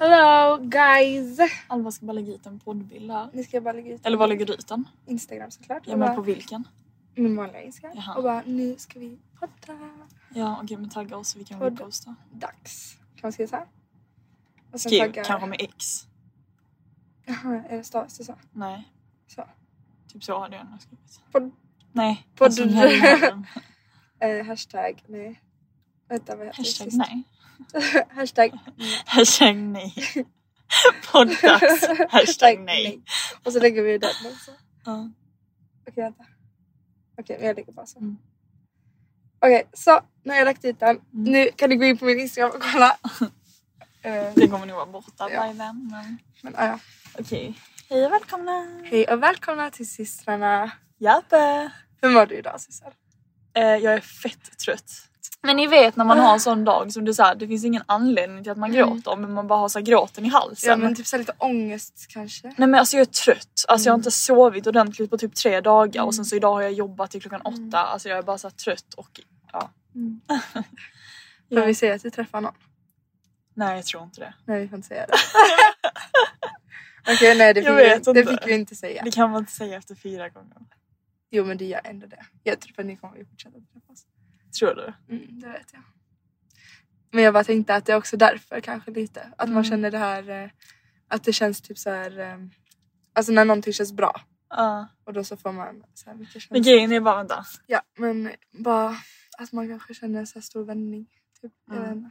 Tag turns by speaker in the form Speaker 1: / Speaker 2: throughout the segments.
Speaker 1: Hello guys!
Speaker 2: Alva ska bara lägga ut en poddbild här.
Speaker 1: Ni ska bara lägga ut
Speaker 2: Eller var lägger du ut den?
Speaker 1: Instagram såklart.
Speaker 2: Ja
Speaker 1: och
Speaker 2: men
Speaker 1: bara-
Speaker 2: på vilken?
Speaker 1: Min vanliga Instagram.
Speaker 2: Jaha.
Speaker 1: Och bara nu ska vi podda.
Speaker 2: Ja okej men tagga oss så vi kan
Speaker 1: Podd.
Speaker 2: reposta.
Speaker 1: Dags. Kan man skriva såhär? Och sen
Speaker 2: Skriv
Speaker 1: tagga-
Speaker 2: kanske med X.
Speaker 1: Jaha, är det stavas det så?
Speaker 2: Nej,
Speaker 1: Så.
Speaker 2: typ så hade jag nog skrivit.
Speaker 1: Podd.
Speaker 2: Nej.
Speaker 1: Podd.
Speaker 2: alltså, nej, nej, nej.
Speaker 1: Eh, hashtag nej. Vänta vad heter
Speaker 2: Hashtag
Speaker 1: det
Speaker 2: nej.
Speaker 1: nej. hashtag
Speaker 2: Hashtag nej. Podddags. Hashtag nej.
Speaker 1: Och så lägger vi den också.
Speaker 2: Ja.
Speaker 1: Okej vänta. Okej men jag lägger bara så.
Speaker 2: Mm.
Speaker 1: Okej så nu har jag lagt ut den.
Speaker 2: Mm.
Speaker 1: Nu kan du gå in på min Instagram och kolla. Eh,
Speaker 2: Det kommer nog vara borta
Speaker 1: Ja.
Speaker 2: by then. Men...
Speaker 1: men, ja, ja.
Speaker 2: Okej. Hej och välkomna.
Speaker 1: Hej och välkomna till systrarna.
Speaker 2: Jappe.
Speaker 1: Hur mår du idag syster?
Speaker 2: Eh, jag är fett trött. Men ni vet när man har en sån dag som du sa, det finns ingen anledning till att man gråter men man bara har så här gråten i halsen.
Speaker 1: Mm. Ja men typ så här lite ångest kanske.
Speaker 2: Nej men alltså jag är trött. Alltså jag har inte sovit ordentligt på typ tre dagar och sen så idag har jag jobbat till klockan åtta. Alltså jag är bara så här trött och ja.
Speaker 1: Får
Speaker 2: Ja.
Speaker 1: vi säga att vi träffar någon?
Speaker 2: Nej jag tror inte det.
Speaker 1: Nej vi får inte säga det. Okej nej det fick,
Speaker 2: Jag
Speaker 1: vi,
Speaker 2: vet
Speaker 1: det
Speaker 2: inte.
Speaker 1: fick vi inte säga.
Speaker 2: Det kan man inte säga efter fyra gånger.
Speaker 1: Jo men det gör ändå det. Jag tror att ni kommer att fortsätta träffas.
Speaker 2: Tror du?
Speaker 1: Mm, det vet jag. Men jag bara tänkte att det är också därför kanske lite. Att
Speaker 2: Mm.
Speaker 1: man känner det här eh, att det känns typ så här. eh, Alltså när någonting känns bra
Speaker 2: Ja.
Speaker 1: och då så får man så här mycket
Speaker 2: Men
Speaker 1: känslor.
Speaker 2: grejen är bara vänta.
Speaker 1: Ja men bara att man kanske känner en så här stor vändning. Typ. Jag vet inte.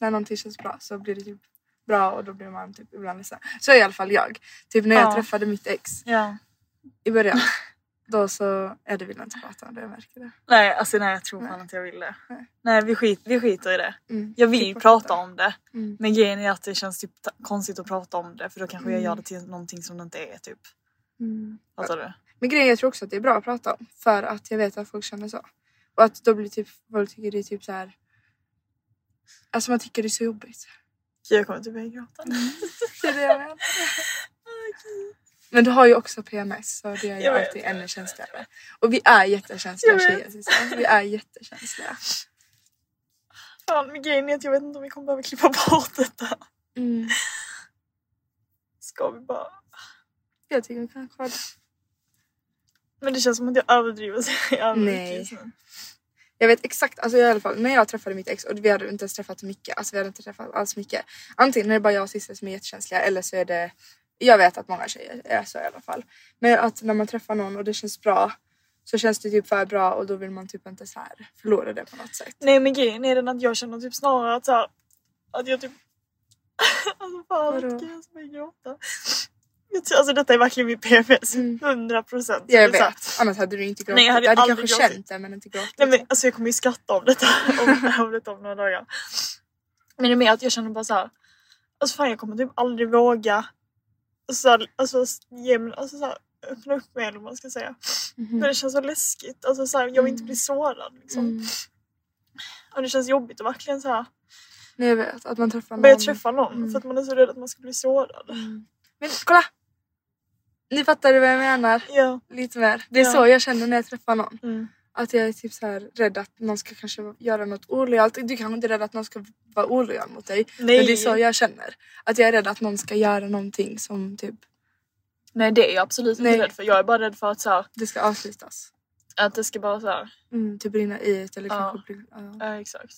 Speaker 1: När någonting känns bra så blir det typ bra och då blir man typ ibland ledsen. Så är i alla fall jag. Typ när jag
Speaker 2: Ja.
Speaker 1: träffade mitt ex
Speaker 2: Ja.
Speaker 1: i början. Då så, ja det vill jag inte prata om det, jag märker det.
Speaker 2: Nej alltså nej jag tror fan inte jag vill det. Nej, vi, skit, vi skiter i det.
Speaker 1: Mm.
Speaker 2: Jag vill
Speaker 1: Typ
Speaker 2: prata
Speaker 1: prata.
Speaker 2: om det.
Speaker 1: Mm.
Speaker 2: Men grejen är att det känns typ ta- konstigt att prata om det för då kanske jag gör det till någonting som det inte är typ. Fattar du?
Speaker 1: Men grejen är, jag tror också att det är bra att prata om för att jag vet att folk känner så. Och att då blir typ, folk tycker det är typ så här. Alltså man tycker det är så jobbigt.
Speaker 2: Gud, Jag kommer typ börja gråta.
Speaker 1: Det är det jag menar. Men du har ju också PMS så det är ju
Speaker 2: Jag vet.
Speaker 1: alltid ännu känsligare. Och vi är jättekänsliga
Speaker 2: Jag vet.
Speaker 1: tjejer Sissi. Vi är jättekänsliga.
Speaker 2: Fan, men grejen är att jag vet inte om vi kommer behöva klippa bort detta.
Speaker 1: Mm.
Speaker 2: Ska vi bara...
Speaker 1: Jag tycker vi kan ha kvar det.
Speaker 2: Men det känns som att jag överdriver så jävla mycket
Speaker 1: Nej.
Speaker 2: just nu.
Speaker 1: Jag vet exakt, alltså jag i alla fall, när jag träffade mitt ex och vi hade inte ens träffat mycket, alltså vi hade inte träffat alls mycket. Antingen är det bara jag och Sissel som är jättekänsliga eller så är det, jag vet att många tjejer är så i alla fall. Men att när man träffar någon och det känns bra så känns det typ för bra och då vill man typ inte så här förlora det på något sätt.
Speaker 2: Nej men grejen är den att jag känner typ snarare att så här, Att jag typ... alltså fan
Speaker 1: Vadå?
Speaker 2: gud jag ska börja gråta. Jag tror- Alltså detta är verkligen min PMS. 100 procent.
Speaker 1: Mm. Jag vet, annars hade du inte gråtit.
Speaker 2: Nej, jag hade
Speaker 1: du hade
Speaker 2: aldrig
Speaker 1: kanske
Speaker 2: gråtit.
Speaker 1: känt det men inte gråtit.
Speaker 2: Nej men alltså jag kommer ju skratta om detta om, om, detta om några dagar. Men det är mer att jag känner bara så här. Alltså fan jag kommer typ aldrig våga. Alltså, så här, alltså, ge mig, alltså så här, öppna upp mig eller vad man ska säga. Men det känns så läskigt. Alltså, så här, jag vill inte bli sårad liksom. Och det känns jobbigt att verkligen så här,
Speaker 1: Nej jag vet, att man träffar
Speaker 2: börja
Speaker 1: någon.
Speaker 2: träffa någon för att man är så rädd att man ska bli sårad.
Speaker 1: Men kolla! Ni fattar vad jag menar.
Speaker 2: Ja.
Speaker 1: Lite mer. Det är
Speaker 2: Ja.
Speaker 1: så jag känner när jag träffar någon.
Speaker 2: Mm.
Speaker 1: Att jag är typ så här rädd att någon ska kanske göra något olojalt. Du kanske inte är rädd att någon ska vara olojal mot dig. Men
Speaker 2: Nej.
Speaker 1: det är så jag känner. Att jag är rädd att någon ska göra någonting som typ
Speaker 2: Nej det är jag absolut inte
Speaker 1: Nej.
Speaker 2: rädd för. Jag är bara rädd för att, så här,
Speaker 1: det ska avslutas.
Speaker 2: att det ska bara så här,
Speaker 1: Mm, typ brinna ut eller
Speaker 2: Ja.
Speaker 1: kanske bli... Ja.
Speaker 2: ja, exakt.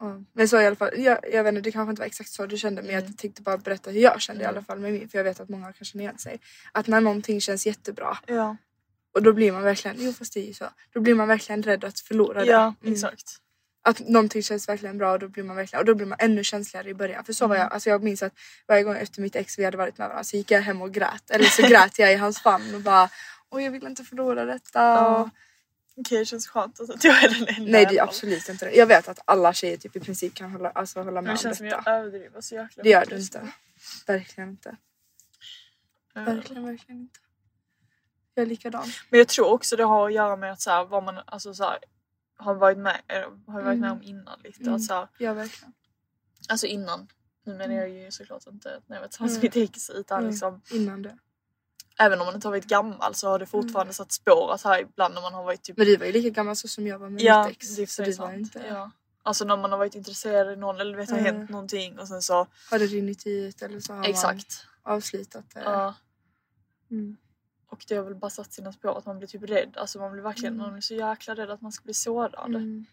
Speaker 1: Ja, Men så i alla fall, jag, jag vet inte, det kanske inte var exakt så du kände men
Speaker 2: Mm.
Speaker 1: jag tänkte bara berätta hur jag kände i alla fall med min för jag vet att många kanske känner igen sig. Att när någonting känns jättebra
Speaker 2: Ja,
Speaker 1: och då blir man verkligen, jo fast det är ju så, då blir man verkligen rädd att förlora det.
Speaker 2: ja
Speaker 1: Mm.
Speaker 2: exakt.
Speaker 1: Att någonting känns verkligen bra och då blir man verkligen, och då blir man ännu känsligare i början. För så
Speaker 2: Mm.
Speaker 1: var jag, alltså jag minns att varje gång efter mitt ex vi hade varit med varandra så gick jag hem och grät eller så grät jag i hans famn och bara Oj jag vill inte förlora detta. Och,
Speaker 2: Okej det känns skönt alltså, att jag är den enda
Speaker 1: nej det
Speaker 2: i
Speaker 1: är
Speaker 2: alla fall.
Speaker 1: absolut inte det. Jag vet att alla tjejer typ i princip kan hålla, alltså, hålla
Speaker 2: Men
Speaker 1: med
Speaker 2: det
Speaker 1: om
Speaker 2: känns som
Speaker 1: detta.
Speaker 2: jag överdriver så jäkla
Speaker 1: Det gör
Speaker 2: mycket
Speaker 1: du
Speaker 2: just nu.
Speaker 1: inte. Verkligen inte.
Speaker 2: Ja.
Speaker 1: Verkligen, verkligen inte. Jag är likadan.
Speaker 2: Men jag tror också det har att göra med att så här, vad man alltså, så här, har varit med, eller har varit
Speaker 1: Mm.
Speaker 2: med om innan lite. Att, så här,
Speaker 1: Jag verkligen.
Speaker 2: alltså innan. Nu menar jag
Speaker 1: Mm.
Speaker 2: ju såklart inte när jag var tillsammans med mitt ex utan liksom
Speaker 1: Innan det.
Speaker 2: även om man inte har varit gammal så har det fortfarande satt spår att här ibland när man har varit typ
Speaker 1: Mm. Men du var ju lika gammal så som jag var med
Speaker 2: ja,
Speaker 1: mitt ex.
Speaker 2: det är
Speaker 1: så
Speaker 2: för
Speaker 1: du
Speaker 2: sant.
Speaker 1: var inte...
Speaker 2: Ja. Alltså när man har varit intresserad i någon eller vet har hänt någonting och sen så
Speaker 1: Har det rinnit ut eller så har
Speaker 2: exakt.
Speaker 1: man eh, avslutat det.
Speaker 2: Ja.
Speaker 1: Mm.
Speaker 2: Och det har väl bara satt sina spår att man blir typ rädd. Alltså man blir verkligen man blir så jäkla rädd att man ska bli sårad.
Speaker 1: Mm.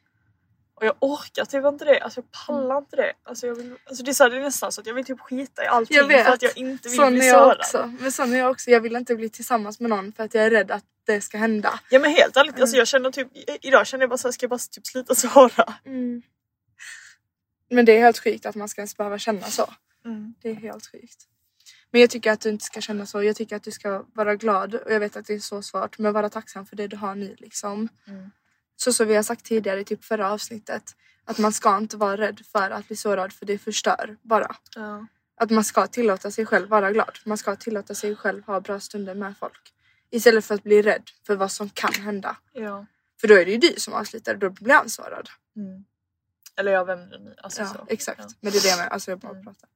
Speaker 2: Och jag orkar typ inte det. Alltså jag pallar inte det. Alltså, jag vill, alltså det, är så här, det är nästan så att jag vill typ skita i allting
Speaker 1: Jag vet.
Speaker 2: för att jag inte vill
Speaker 1: Sån
Speaker 2: bli
Speaker 1: är jag
Speaker 2: sårad.
Speaker 1: också. Men sån är jag också. Jag vill inte bli tillsammans med någon för att jag är rädd att det ska hända.
Speaker 2: Ja men helt ärligt,
Speaker 1: Mm.
Speaker 2: alltså jag känner typ, i- idag känner jag bara såhär, ska jag bara typ sluta såra?
Speaker 1: Men det är helt sjukt att man ska ens behöva känna så.
Speaker 2: Mm.
Speaker 1: Det är helt sjukt. Men jag tycker att du inte ska känna så. Jag tycker att du ska vara glad och jag vet att det är så svårt men vara tacksam för det du har nu liksom. Så som vi har sagt tidigare i typ förra avsnittet att man ska inte vara rädd för att bli sårad för det förstör bara.
Speaker 2: Ja.
Speaker 1: Att man ska tillåta sig själv vara glad. Man ska tillåta sig själv ha bra stunder med folk. Istället för att bli rädd för vad som kan hända.
Speaker 2: ja.
Speaker 1: För då är det ju du som avslutar och då blir han sårad.
Speaker 2: Eller jag vem det nu alltså,
Speaker 1: Ja,
Speaker 2: så.
Speaker 1: exakt.
Speaker 2: Ja.
Speaker 1: Men det är det jag menar. Alltså jag bara pratar.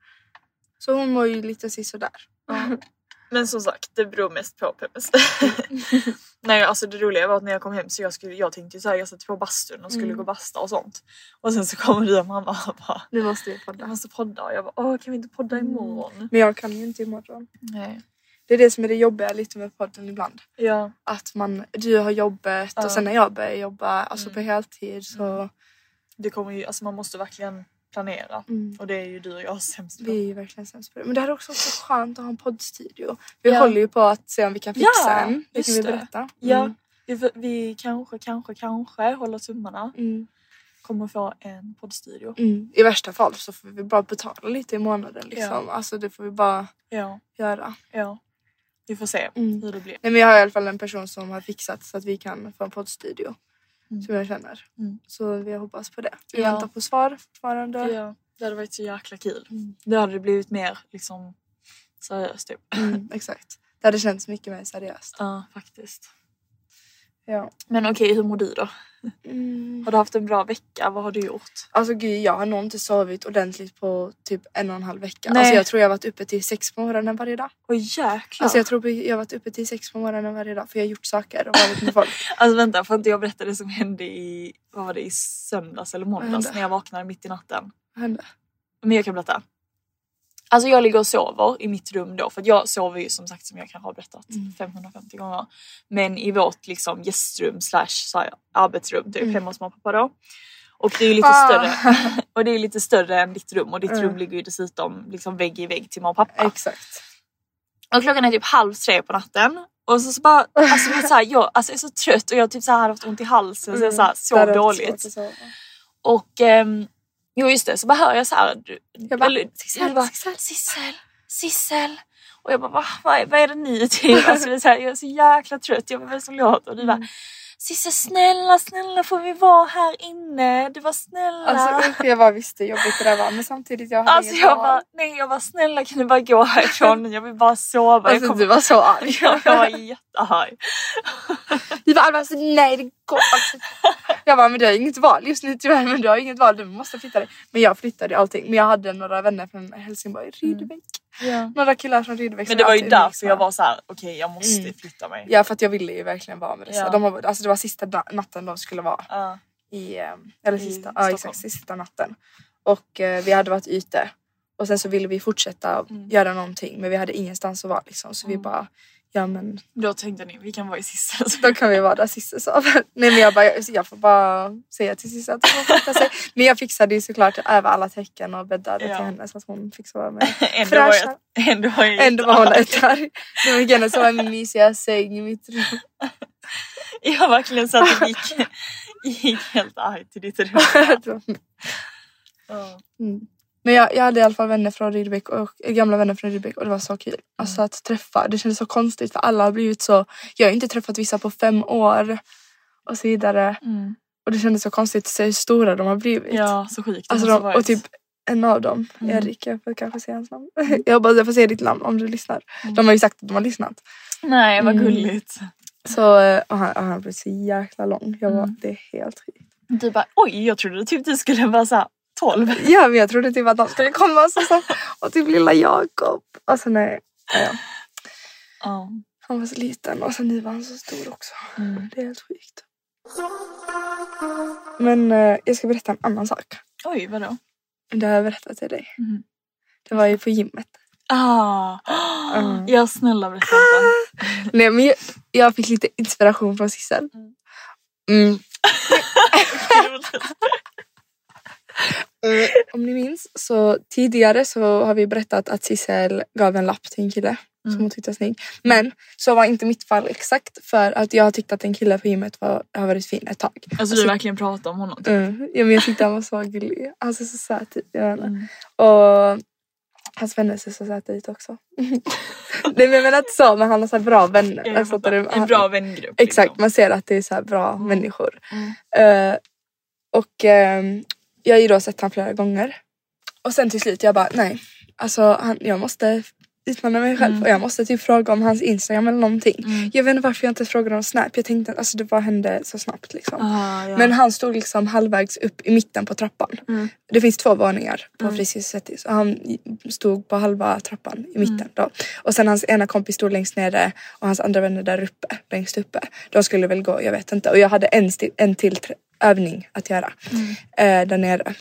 Speaker 1: Så hon mår ju lite sisådär.
Speaker 2: Men som sagt, det beror mest på PMS. Nej alltså det roliga var att när jag kom hem så jag, skulle, jag tänkte ju såhär, jag satt på bastun och skulle
Speaker 1: Mm.
Speaker 2: gå och basta och sånt. Och sen så kommer du och mamma och bara
Speaker 1: Nu måste vi podda.
Speaker 2: jag måste podda och jag bara åh kan vi inte podda
Speaker 1: Mm.
Speaker 2: imorgon?
Speaker 1: Men jag kan ju inte imorgon.
Speaker 2: Nej.
Speaker 1: Det är det som är det jobbiga lite med podden ibland.
Speaker 2: Ja.
Speaker 1: Att man, du har jobbet och sen när jag börjar jobba
Speaker 2: Mm.
Speaker 1: alltså på heltid så
Speaker 2: Det kommer ju, alltså man måste verkligen planera och det är ju du och jag sämst på.
Speaker 1: Mm. vi är ju verkligen sämst på det. Men det här är också så skönt att ha en poddstudio. Vi
Speaker 2: Ja.
Speaker 1: håller ju på att se om vi kan fixa
Speaker 2: Ja,
Speaker 1: en. Det kan
Speaker 2: just
Speaker 1: vi
Speaker 2: det.
Speaker 1: berätta. Mm.
Speaker 2: Ja, vi, vi kanske, kanske, kanske håller tummarna.
Speaker 1: Mm.
Speaker 2: Kommer få en poddstudio.
Speaker 1: Mm. I värsta fall så får vi bara betala lite i månaden liksom. Alltså det får vi bara
Speaker 2: Ja,
Speaker 1: göra.
Speaker 2: ja. Vi får se
Speaker 1: Mm.
Speaker 2: hur det blir.
Speaker 1: Nej men jag har i alla fall en person som har fixat så att vi kan få en poddstudio. Som jag känner. Så vi hoppas på det. Vi
Speaker 2: Mm. Ja.
Speaker 1: väntar på svar fortfarande.
Speaker 2: Ja, det hade varit så jäkla kul. Det hade det blivit mer liksom seriöst typ.
Speaker 1: Mm, exakt. Det hade känts mycket mer seriöst.
Speaker 2: Ja, faktiskt.
Speaker 1: Ja.
Speaker 2: Men okej, hur mår du då? Har du haft en bra vecka? Vad har du gjort?
Speaker 1: Alltså gud, jag har nog inte sovit ordentligt på typ en och en halv vecka.
Speaker 2: Nej.
Speaker 1: Alltså jag tror jag har varit uppe till sex på morgonen varje dag.
Speaker 2: Åh jäklar!
Speaker 1: Alltså jag tror jag har varit uppe till sex på morgonen varje dag för jag har gjort saker och varit med folk.
Speaker 2: Alltså vänta, får inte jag berätta det som hände i, vad var det, i söndags eller måndags
Speaker 1: hände?
Speaker 2: när jag vaknade mitt i natten?
Speaker 1: Vad hände?
Speaker 2: Men jag kan berätta. Alltså jag ligger och sover i mitt rum då för att jag sover ju som sagt som jag kanske har berättat
Speaker 1: Mm.
Speaker 2: 550 gånger. Men i vårt liksom gästrum slash så här arbetsrum typ hemma hos mamma och pappa då. Och det är ju lite
Speaker 1: Mm. Ah. Mm.
Speaker 2: större och det är ju lite större än ditt rum och ditt rum ligger ju dessutom liksom vägg i vägg till mamma och pappa.
Speaker 1: Exakt.
Speaker 2: Och klockan är typ halv tre på natten. Och så, så bara, alltså, jag, så här, jag alltså, jag är så trött och jag har typ så här haft ont i halsen så jag så här,
Speaker 1: Mm. Det
Speaker 2: sov
Speaker 1: hade varit
Speaker 2: dåligt.
Speaker 1: svårt att sova.
Speaker 2: Och ehm, jo just det, så bara hör jag så här. Du,
Speaker 1: Jag bara,
Speaker 2: eller-
Speaker 1: Sissel,
Speaker 2: jag bara,
Speaker 1: Sissel.
Speaker 2: Sissel, Sissel.
Speaker 1: Mm.
Speaker 2: Och jag bara, Va, vad, är, vad är det nu? Typ? Alltså, det är så här, jag är så jäkla trött, jag var väl så låt. Och du bara, Sisse snälla, snälla får vi vara här inne? Du var snälla.
Speaker 1: Alltså usch jag bara visste hur jobbigt det där var men samtidigt jag hade
Speaker 2: Alltså
Speaker 1: inget
Speaker 2: jag
Speaker 1: val.
Speaker 2: bara, nej jag bara snälla kan du bara gå härifrån nu? Jag vill bara sova.
Speaker 1: Alltså
Speaker 2: jag,
Speaker 1: du var så arg.
Speaker 2: jag, jag var jättearg.
Speaker 1: Du bara alltså, nej det går alltså. Jag bara men du har inget val just nu tyvärr men du har inget val du måste flytta dig. Men jag flyttade allting men jag hade några vänner från Helsingborg, Rydebäck. Några killar från Rydebäck. som
Speaker 2: Mm. Men det var ju
Speaker 1: alltid umgicks
Speaker 2: därför jag
Speaker 1: med.
Speaker 2: var så här: okej jag måste flytta mig.
Speaker 1: Mm. Ja för att jag ville ju verkligen vara med dessa.
Speaker 2: Ja.
Speaker 1: De var, alltså det var sista na- natten de skulle vara
Speaker 2: Ja.
Speaker 1: i, eh, eller sista, ja,
Speaker 2: Stockholm.
Speaker 1: exakt, sista natten. Och eh, vi hade varit ute och sen så ville vi fortsätta
Speaker 2: Mm.
Speaker 1: göra någonting men vi hade ingenstans att vara liksom så vi bara ja men
Speaker 2: Då tänkte ni, vi kan vara i sista.
Speaker 1: då kan vi vara där Sisse sover. Nej men jag bara, jag, jag får bara säga till Sisse att hon får flytta sig. Men jag fixade ju såklart över alla tecken och bäddade
Speaker 2: Ja.
Speaker 1: till henne så att hon fick sova med
Speaker 2: Ändå var
Speaker 1: fräscha-
Speaker 2: jag, ändå var jag
Speaker 1: Ändå var hon
Speaker 2: jättearg.
Speaker 1: lättare. Nu fick henne sova i min mysiga säng i mitt rum.
Speaker 2: Jag verkligen så att jag gick, gick helt arg till ditt rum. Ja.
Speaker 1: Mm. Men jag, jag hade i alla fall vänner från Rydbeck och eh, gamla vänner från Rydbeck och det var så kul. Alltså att träffa, det kändes så konstigt för alla har blivit så, jag har ju inte träffat vissa på fem år och så vidare. Och det kändes så konstigt att se hur stora de har blivit.
Speaker 2: Ja, så sjukt. Det
Speaker 1: Alltså
Speaker 2: måste
Speaker 1: de,
Speaker 2: varit-
Speaker 1: och typ en av dem, Erik, jag får kanske säga hans namn. Jag hoppas jag får säga ditt namn om du lyssnar. De har ju sagt att de har lyssnat.
Speaker 2: Nej,
Speaker 1: Mm.
Speaker 2: vad gulligt.
Speaker 1: Så, eh, och han, och han blev så jäkla lång. Jag var, det är helt sjukt.
Speaker 2: Du bara, oj, jag trodde typ du skulle vara såhär 12.
Speaker 1: Ja men jag trodde typ att de skulle komma och så, så, och typ lilla Jakob. Alltså nej. Ja, ja.
Speaker 2: Ja.
Speaker 1: Han var så liten och sen nu var han så stor också. Det är helt sjukt. Men eh, jag ska berätta en annan sak.
Speaker 2: Oj, vadå?
Speaker 1: Det har jag berättat till dig.
Speaker 2: Mm.
Speaker 1: Det var ju på gymmet.
Speaker 2: Ah,
Speaker 1: Mm.
Speaker 2: ja snälla berätta
Speaker 1: Ah.
Speaker 2: inte.
Speaker 1: Nej men jag, jag fick lite inspiration från Sissel. Mm.
Speaker 2: Alltså,
Speaker 1: Eh, Om ni minns så tidigare så har vi berättat att Sissel gav en lapp till en kille
Speaker 2: Mm.
Speaker 1: som hon tyckte var snygg. Men så var inte mitt fall exakt för att jag tyckte att en kille på gymmet var, har varit fin ett tag.
Speaker 2: Alltså du verkligen pratar om honom. typ.
Speaker 1: Mm. Ja, men jag tyckte han var så gullig. Alltså så söt. ut, Jag vet inte.
Speaker 2: Mm.
Speaker 1: Och hans vänner ser så söta ut också. Nej men jag menar inte så men han har så här bra vänner.
Speaker 2: Jag
Speaker 1: Alltså,
Speaker 2: fattar.
Speaker 1: att det-
Speaker 2: en bra Mm. vängrupp.
Speaker 1: Exakt,
Speaker 2: Liksom.
Speaker 1: man ser att det är så här bra människor. Eh, och ehm, jag har ju då sett han flera gånger. Och sen till slut jag bara nej, alltså han, jag måste utmana mig
Speaker 2: Mm.
Speaker 1: själv och jag måste typ fråga om hans instagram eller någonting. Jag vet inte varför jag inte frågade om snap. Jag tänkte att alltså, det bara hände så snabbt liksom.
Speaker 2: Ah, ja. Mm.
Speaker 1: Men han stod liksom halvvägs upp i mitten på trappan. Det finns två våningar på mm. Friskhusettis och han stod på halva trappan i mitten
Speaker 2: Mm.
Speaker 1: då. Och sen hans ena kompis stod längst nere och hans andra vänner där uppe, längst uppe. De skulle väl gå, jag vet inte. Och jag hade en, sti- en till tr- övning att göra
Speaker 2: Mm.
Speaker 1: eh, där nere.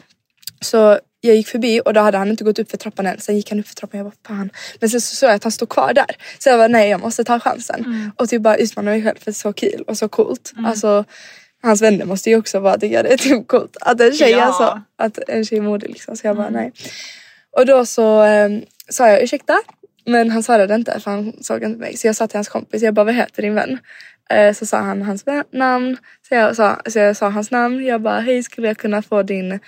Speaker 1: Så jag gick förbi och då hade han inte gått upp för trappan än. Sen gick han upp för trappan och jag bara fan. Men sen så såg jag att han stod kvar där. Så jag bara nej jag måste ta chansen. Och typ bara utmana mig själv för det är så kul och så coolt. Alltså hans vänner måste ju också bara tycka det är typ coolt. Att en tjej
Speaker 2: Ja.
Speaker 1: alltså. Att en tjej är modig liksom. Så jag bara nej. Och då så eh, sa jag ursäkta. Men han svarade inte för han såg inte mig. Så jag sa till hans kompis, jag bara vad heter din vän? Eh, Så sa han hans vä- namn. Så jag sa, så jag sa hans namn. Jag bara hej skulle jag kunna få din...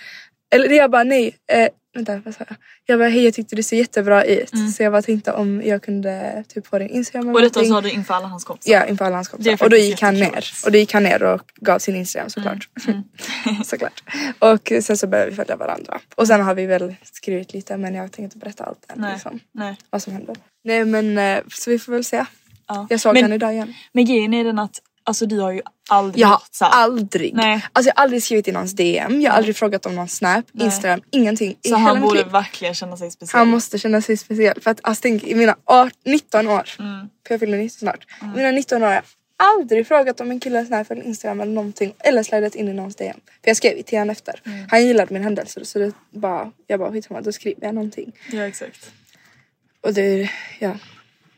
Speaker 1: Eller jag bara nej. Eh, vänta vad sa jag? Jag bara hej jag tyckte du ser jättebra ut. Så jag bara tänkte om jag kunde typ få din Instagram eller
Speaker 2: Mm. Och detta
Speaker 1: någonting.
Speaker 2: sa du inför alla hans kompisar.
Speaker 1: Ja, inför alla hans
Speaker 2: Det är
Speaker 1: kompisar. Och då
Speaker 2: faktiskt
Speaker 1: gick han
Speaker 2: jättekul.
Speaker 1: ner. Och då gick han ner och gav sin Instagram såklart.
Speaker 2: Mm.
Speaker 1: såklart. Och sen så började vi följa varandra. Och sen har vi väl skrivit lite men jag tänker inte berätta allt än.
Speaker 2: Nej.
Speaker 1: Liksom,
Speaker 2: Nej.
Speaker 1: vad som hände. Nej men eh, så vi får väl se.
Speaker 2: Ja.
Speaker 1: Jag såg
Speaker 2: men,
Speaker 1: han idag igen.
Speaker 2: Men grejen är den att alltså, du har ju aldrig
Speaker 1: Jag har
Speaker 2: så här-
Speaker 1: aldrig,
Speaker 2: Nej.
Speaker 1: alltså jag har aldrig skrivit i någons DM, jag har aldrig frågat om någon snap, instagram, ingenting. i
Speaker 2: Så
Speaker 1: hela
Speaker 2: han
Speaker 1: mitt
Speaker 2: borde
Speaker 1: liv.
Speaker 2: verkligen känna sig speciell.
Speaker 1: Han måste känna sig speciell. För att alltså, tänk, i mina art- 19 år,
Speaker 2: Mm.
Speaker 1: för jag fyller 19 snart. I mina 19 år har jag aldrig frågat om en kille snap eller instagram eller någonting. Eller slidat in i någons DM. För jag skrev ju till honom efter.
Speaker 2: Mm.
Speaker 1: Han gillade min händelse så det bara, jag bara skitsamma då skriver jag någonting.
Speaker 2: Ja exakt.
Speaker 1: Och det är, ja,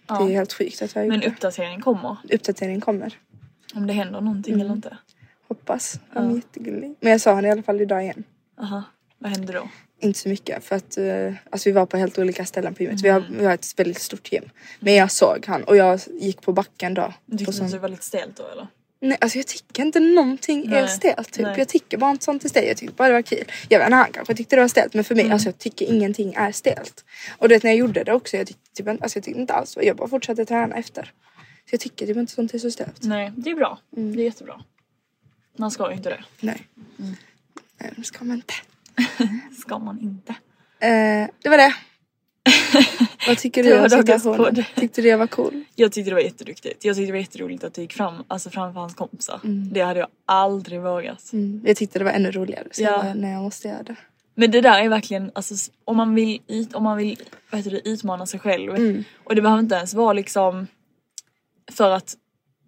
Speaker 2: Ja.
Speaker 1: det är helt sjukt att jag
Speaker 2: Men
Speaker 1: men...
Speaker 2: uppdatering kommer.
Speaker 1: uppdatering kommer.
Speaker 2: Om det händer någonting eller inte.
Speaker 1: Hoppas. Han är jättegullig. Men jag sa han i alla fall idag igen.
Speaker 2: Aha. Vad händer då?
Speaker 1: Inte så mycket för att eh, alltså vi var på helt olika ställen på gymmet. Vi, har,
Speaker 2: Mm.
Speaker 1: vi har ett väldigt stort gym. Men jag såg han och jag gick på backen då.
Speaker 2: Tyckte
Speaker 1: Och
Speaker 2: du
Speaker 1: så-
Speaker 2: att det var lite stelt då eller?
Speaker 1: Nej, alltså jag tycker inte någonting är
Speaker 2: Nej,
Speaker 1: stelt typ.
Speaker 2: nej.
Speaker 1: Jag tycker bara inte sånt är stelt. Jag tyckte bara det var kul. Jag vet inte, han kanske tyckte det var stelt men för
Speaker 2: Mm.
Speaker 1: mig, alltså jag tycker ingenting är stelt. Och det när jag gjorde det också, jag tyckte, typ, inte- alltså, jag tyckte inte alls, jag bara fortsatte träna efter. Så jag tycker typ inte sånt är så stelt.
Speaker 2: Mm. Nej, det är bra. Det är jättebra. Man ska ju inte det.
Speaker 1: Nej.
Speaker 2: Mm.
Speaker 1: Nej, det ska man inte.
Speaker 2: Ska man inte.
Speaker 1: Eh, det var det. Vad tycker
Speaker 2: Det
Speaker 1: du
Speaker 2: var
Speaker 1: om
Speaker 2: dagens
Speaker 1: situationen?
Speaker 2: podd.
Speaker 1: Tyckte du jag var cool?
Speaker 2: Jag tyckte det var jätteduktigt. Jag tyckte det var jätteroligt att du gick fram, alltså framför hans kompisar. Det hade jag aldrig vågat.
Speaker 1: Jag tyckte det var ännu roligare så jag
Speaker 2: Ja.
Speaker 1: bara, nej jag måste göra det.
Speaker 2: Men det där är verkligen, alltså, s- om man vill, ut, om man vill vad heter det, utmana sig själv. Och det behöver inte ens vara liksom för att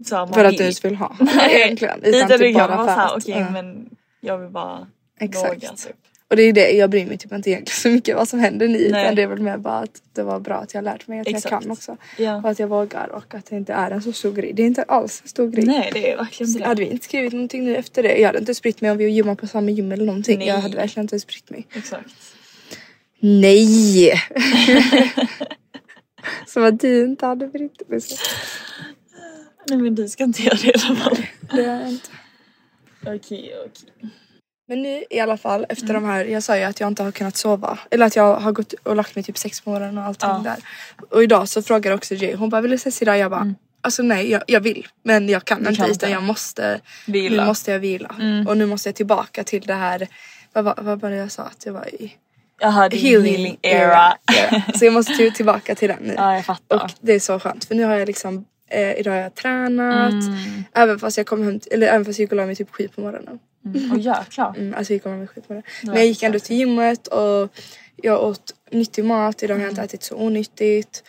Speaker 2: så här, man
Speaker 1: För att
Speaker 2: vill.
Speaker 1: du skulle ha.
Speaker 2: Nej,
Speaker 1: egentligen.
Speaker 2: Utan
Speaker 1: typ
Speaker 2: det kan
Speaker 1: bara
Speaker 2: vara såhär,
Speaker 1: att,
Speaker 2: okej
Speaker 1: ja.
Speaker 2: men jag vill bara
Speaker 1: Exakt.
Speaker 2: våga. Typ.
Speaker 1: Och det är ju det, jag bryr mig typ inte egentligen så mycket vad som händer nu utan
Speaker 2: Nej.
Speaker 1: det är väl mer bara att det var bra att jag har lärt mig att jag
Speaker 2: Exakt.
Speaker 1: kan också.
Speaker 2: Ja.
Speaker 1: Och att jag vågar och att det inte är en så stor grej. Det är inte alls en stor grej.
Speaker 2: Nej det är verkligen
Speaker 1: Så Hade
Speaker 2: det.
Speaker 1: vi inte skrivit någonting nu efter det, jag hade inte spritt mig om vi gymmade på samma gym eller någonting.
Speaker 2: Nej.
Speaker 1: Jag hade verkligen inte spritt mig.
Speaker 2: Exakt.
Speaker 1: Nej! Som att du inte hade brytt dig. så.
Speaker 2: Nej men du ska inte göra det i alla fall.
Speaker 1: Det har jag inte.
Speaker 2: Okej okej.
Speaker 1: Men nu i alla fall efter
Speaker 2: Mm.
Speaker 1: de här, jag sa ju att jag inte har kunnat sova. Eller att jag har gått och lagt mig typ sex på morgonen och allting
Speaker 2: Ja.
Speaker 1: där. Och idag så frågar också Jay, hon bara vill du ses idag? Jag bara alltså nej jag, jag vill men jag kan inte
Speaker 2: Mm. kan
Speaker 1: utan
Speaker 2: inte.
Speaker 1: jag måste.
Speaker 2: Vila. Mm.
Speaker 1: Nu måste jag vila. Och nu måste jag tillbaka till det här, vad, var- vad var det jag sa att jag var i?
Speaker 2: Jag hade healing, healing era.
Speaker 1: era. Så jag måste ju tillbaka till den nu.
Speaker 2: Ja, jag fattar.
Speaker 1: Och det är så skönt för nu har jag liksom eh, idag har jag tränat. Även fast jag kom hem, t- eller även fast jag gick och la mig typ sju på morgonen.
Speaker 2: Mm. Och jäklar.
Speaker 1: Mm, alltså jag gick och la mig skit på det. Men jag gick ändå till gymmet och jag åt nyttig mat. Idag har jag inte ätit så onyttigt.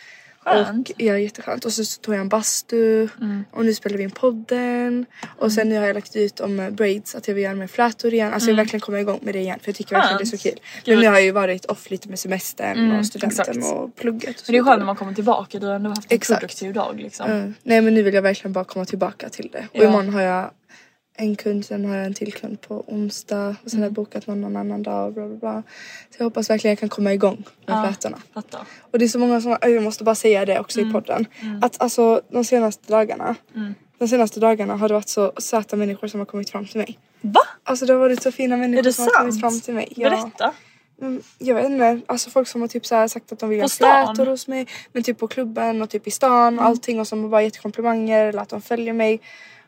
Speaker 2: Mm. Skönt. Mm.
Speaker 1: Och, ja, jätteskönt. Och så, så tog jag en bastu och nu spelar vi in podden. Och sen nu har jag lagt ut om eh, braids, att jag vill göra med flätor igen. Alltså
Speaker 2: Mm.
Speaker 1: jag vill verkligen komma igång med det igen för jag tycker verkligen det är så kul. Men nu har jag ju varit off lite med semestern och studenten
Speaker 2: Mm, exakt.
Speaker 1: och plugget. Och så
Speaker 2: Men det är
Speaker 1: vidare.
Speaker 2: skönt när man kommer tillbaka, du har ändå haft en
Speaker 1: Exakt.
Speaker 2: produktiv dag liksom.
Speaker 1: Mm. Nej men nu vill jag verkligen bara komma tillbaka till det. Och
Speaker 2: Ja.
Speaker 1: imorgon har jag en kund, sen har jag en till kund på onsdag och sen
Speaker 2: Mm.
Speaker 1: har jag bokat någon, någon annan dag och bla bla bla. Så jag hoppas verkligen jag kan komma igång med flätorna.
Speaker 2: Fattar.
Speaker 1: Och det är så många som, jag måste bara säga det också
Speaker 2: Mm.
Speaker 1: i podden. Att alltså de senaste dagarna, de senaste dagarna har det varit så söta människor som har kommit fram till mig.
Speaker 2: Va?
Speaker 1: Alltså det har varit så fina
Speaker 2: Är
Speaker 1: människor
Speaker 2: det
Speaker 1: som har kommit
Speaker 2: sant?
Speaker 1: fram till mig.
Speaker 2: Berätta.
Speaker 1: Mm, Jag vet inte, alltså folk som har typ så här sagt att de vill
Speaker 2: På
Speaker 1: ha
Speaker 2: stan? Mm.
Speaker 1: flätor hos mig. Men typ på klubben och typ i stan och allting och som har bara gett komplimanger eller att de följer mig.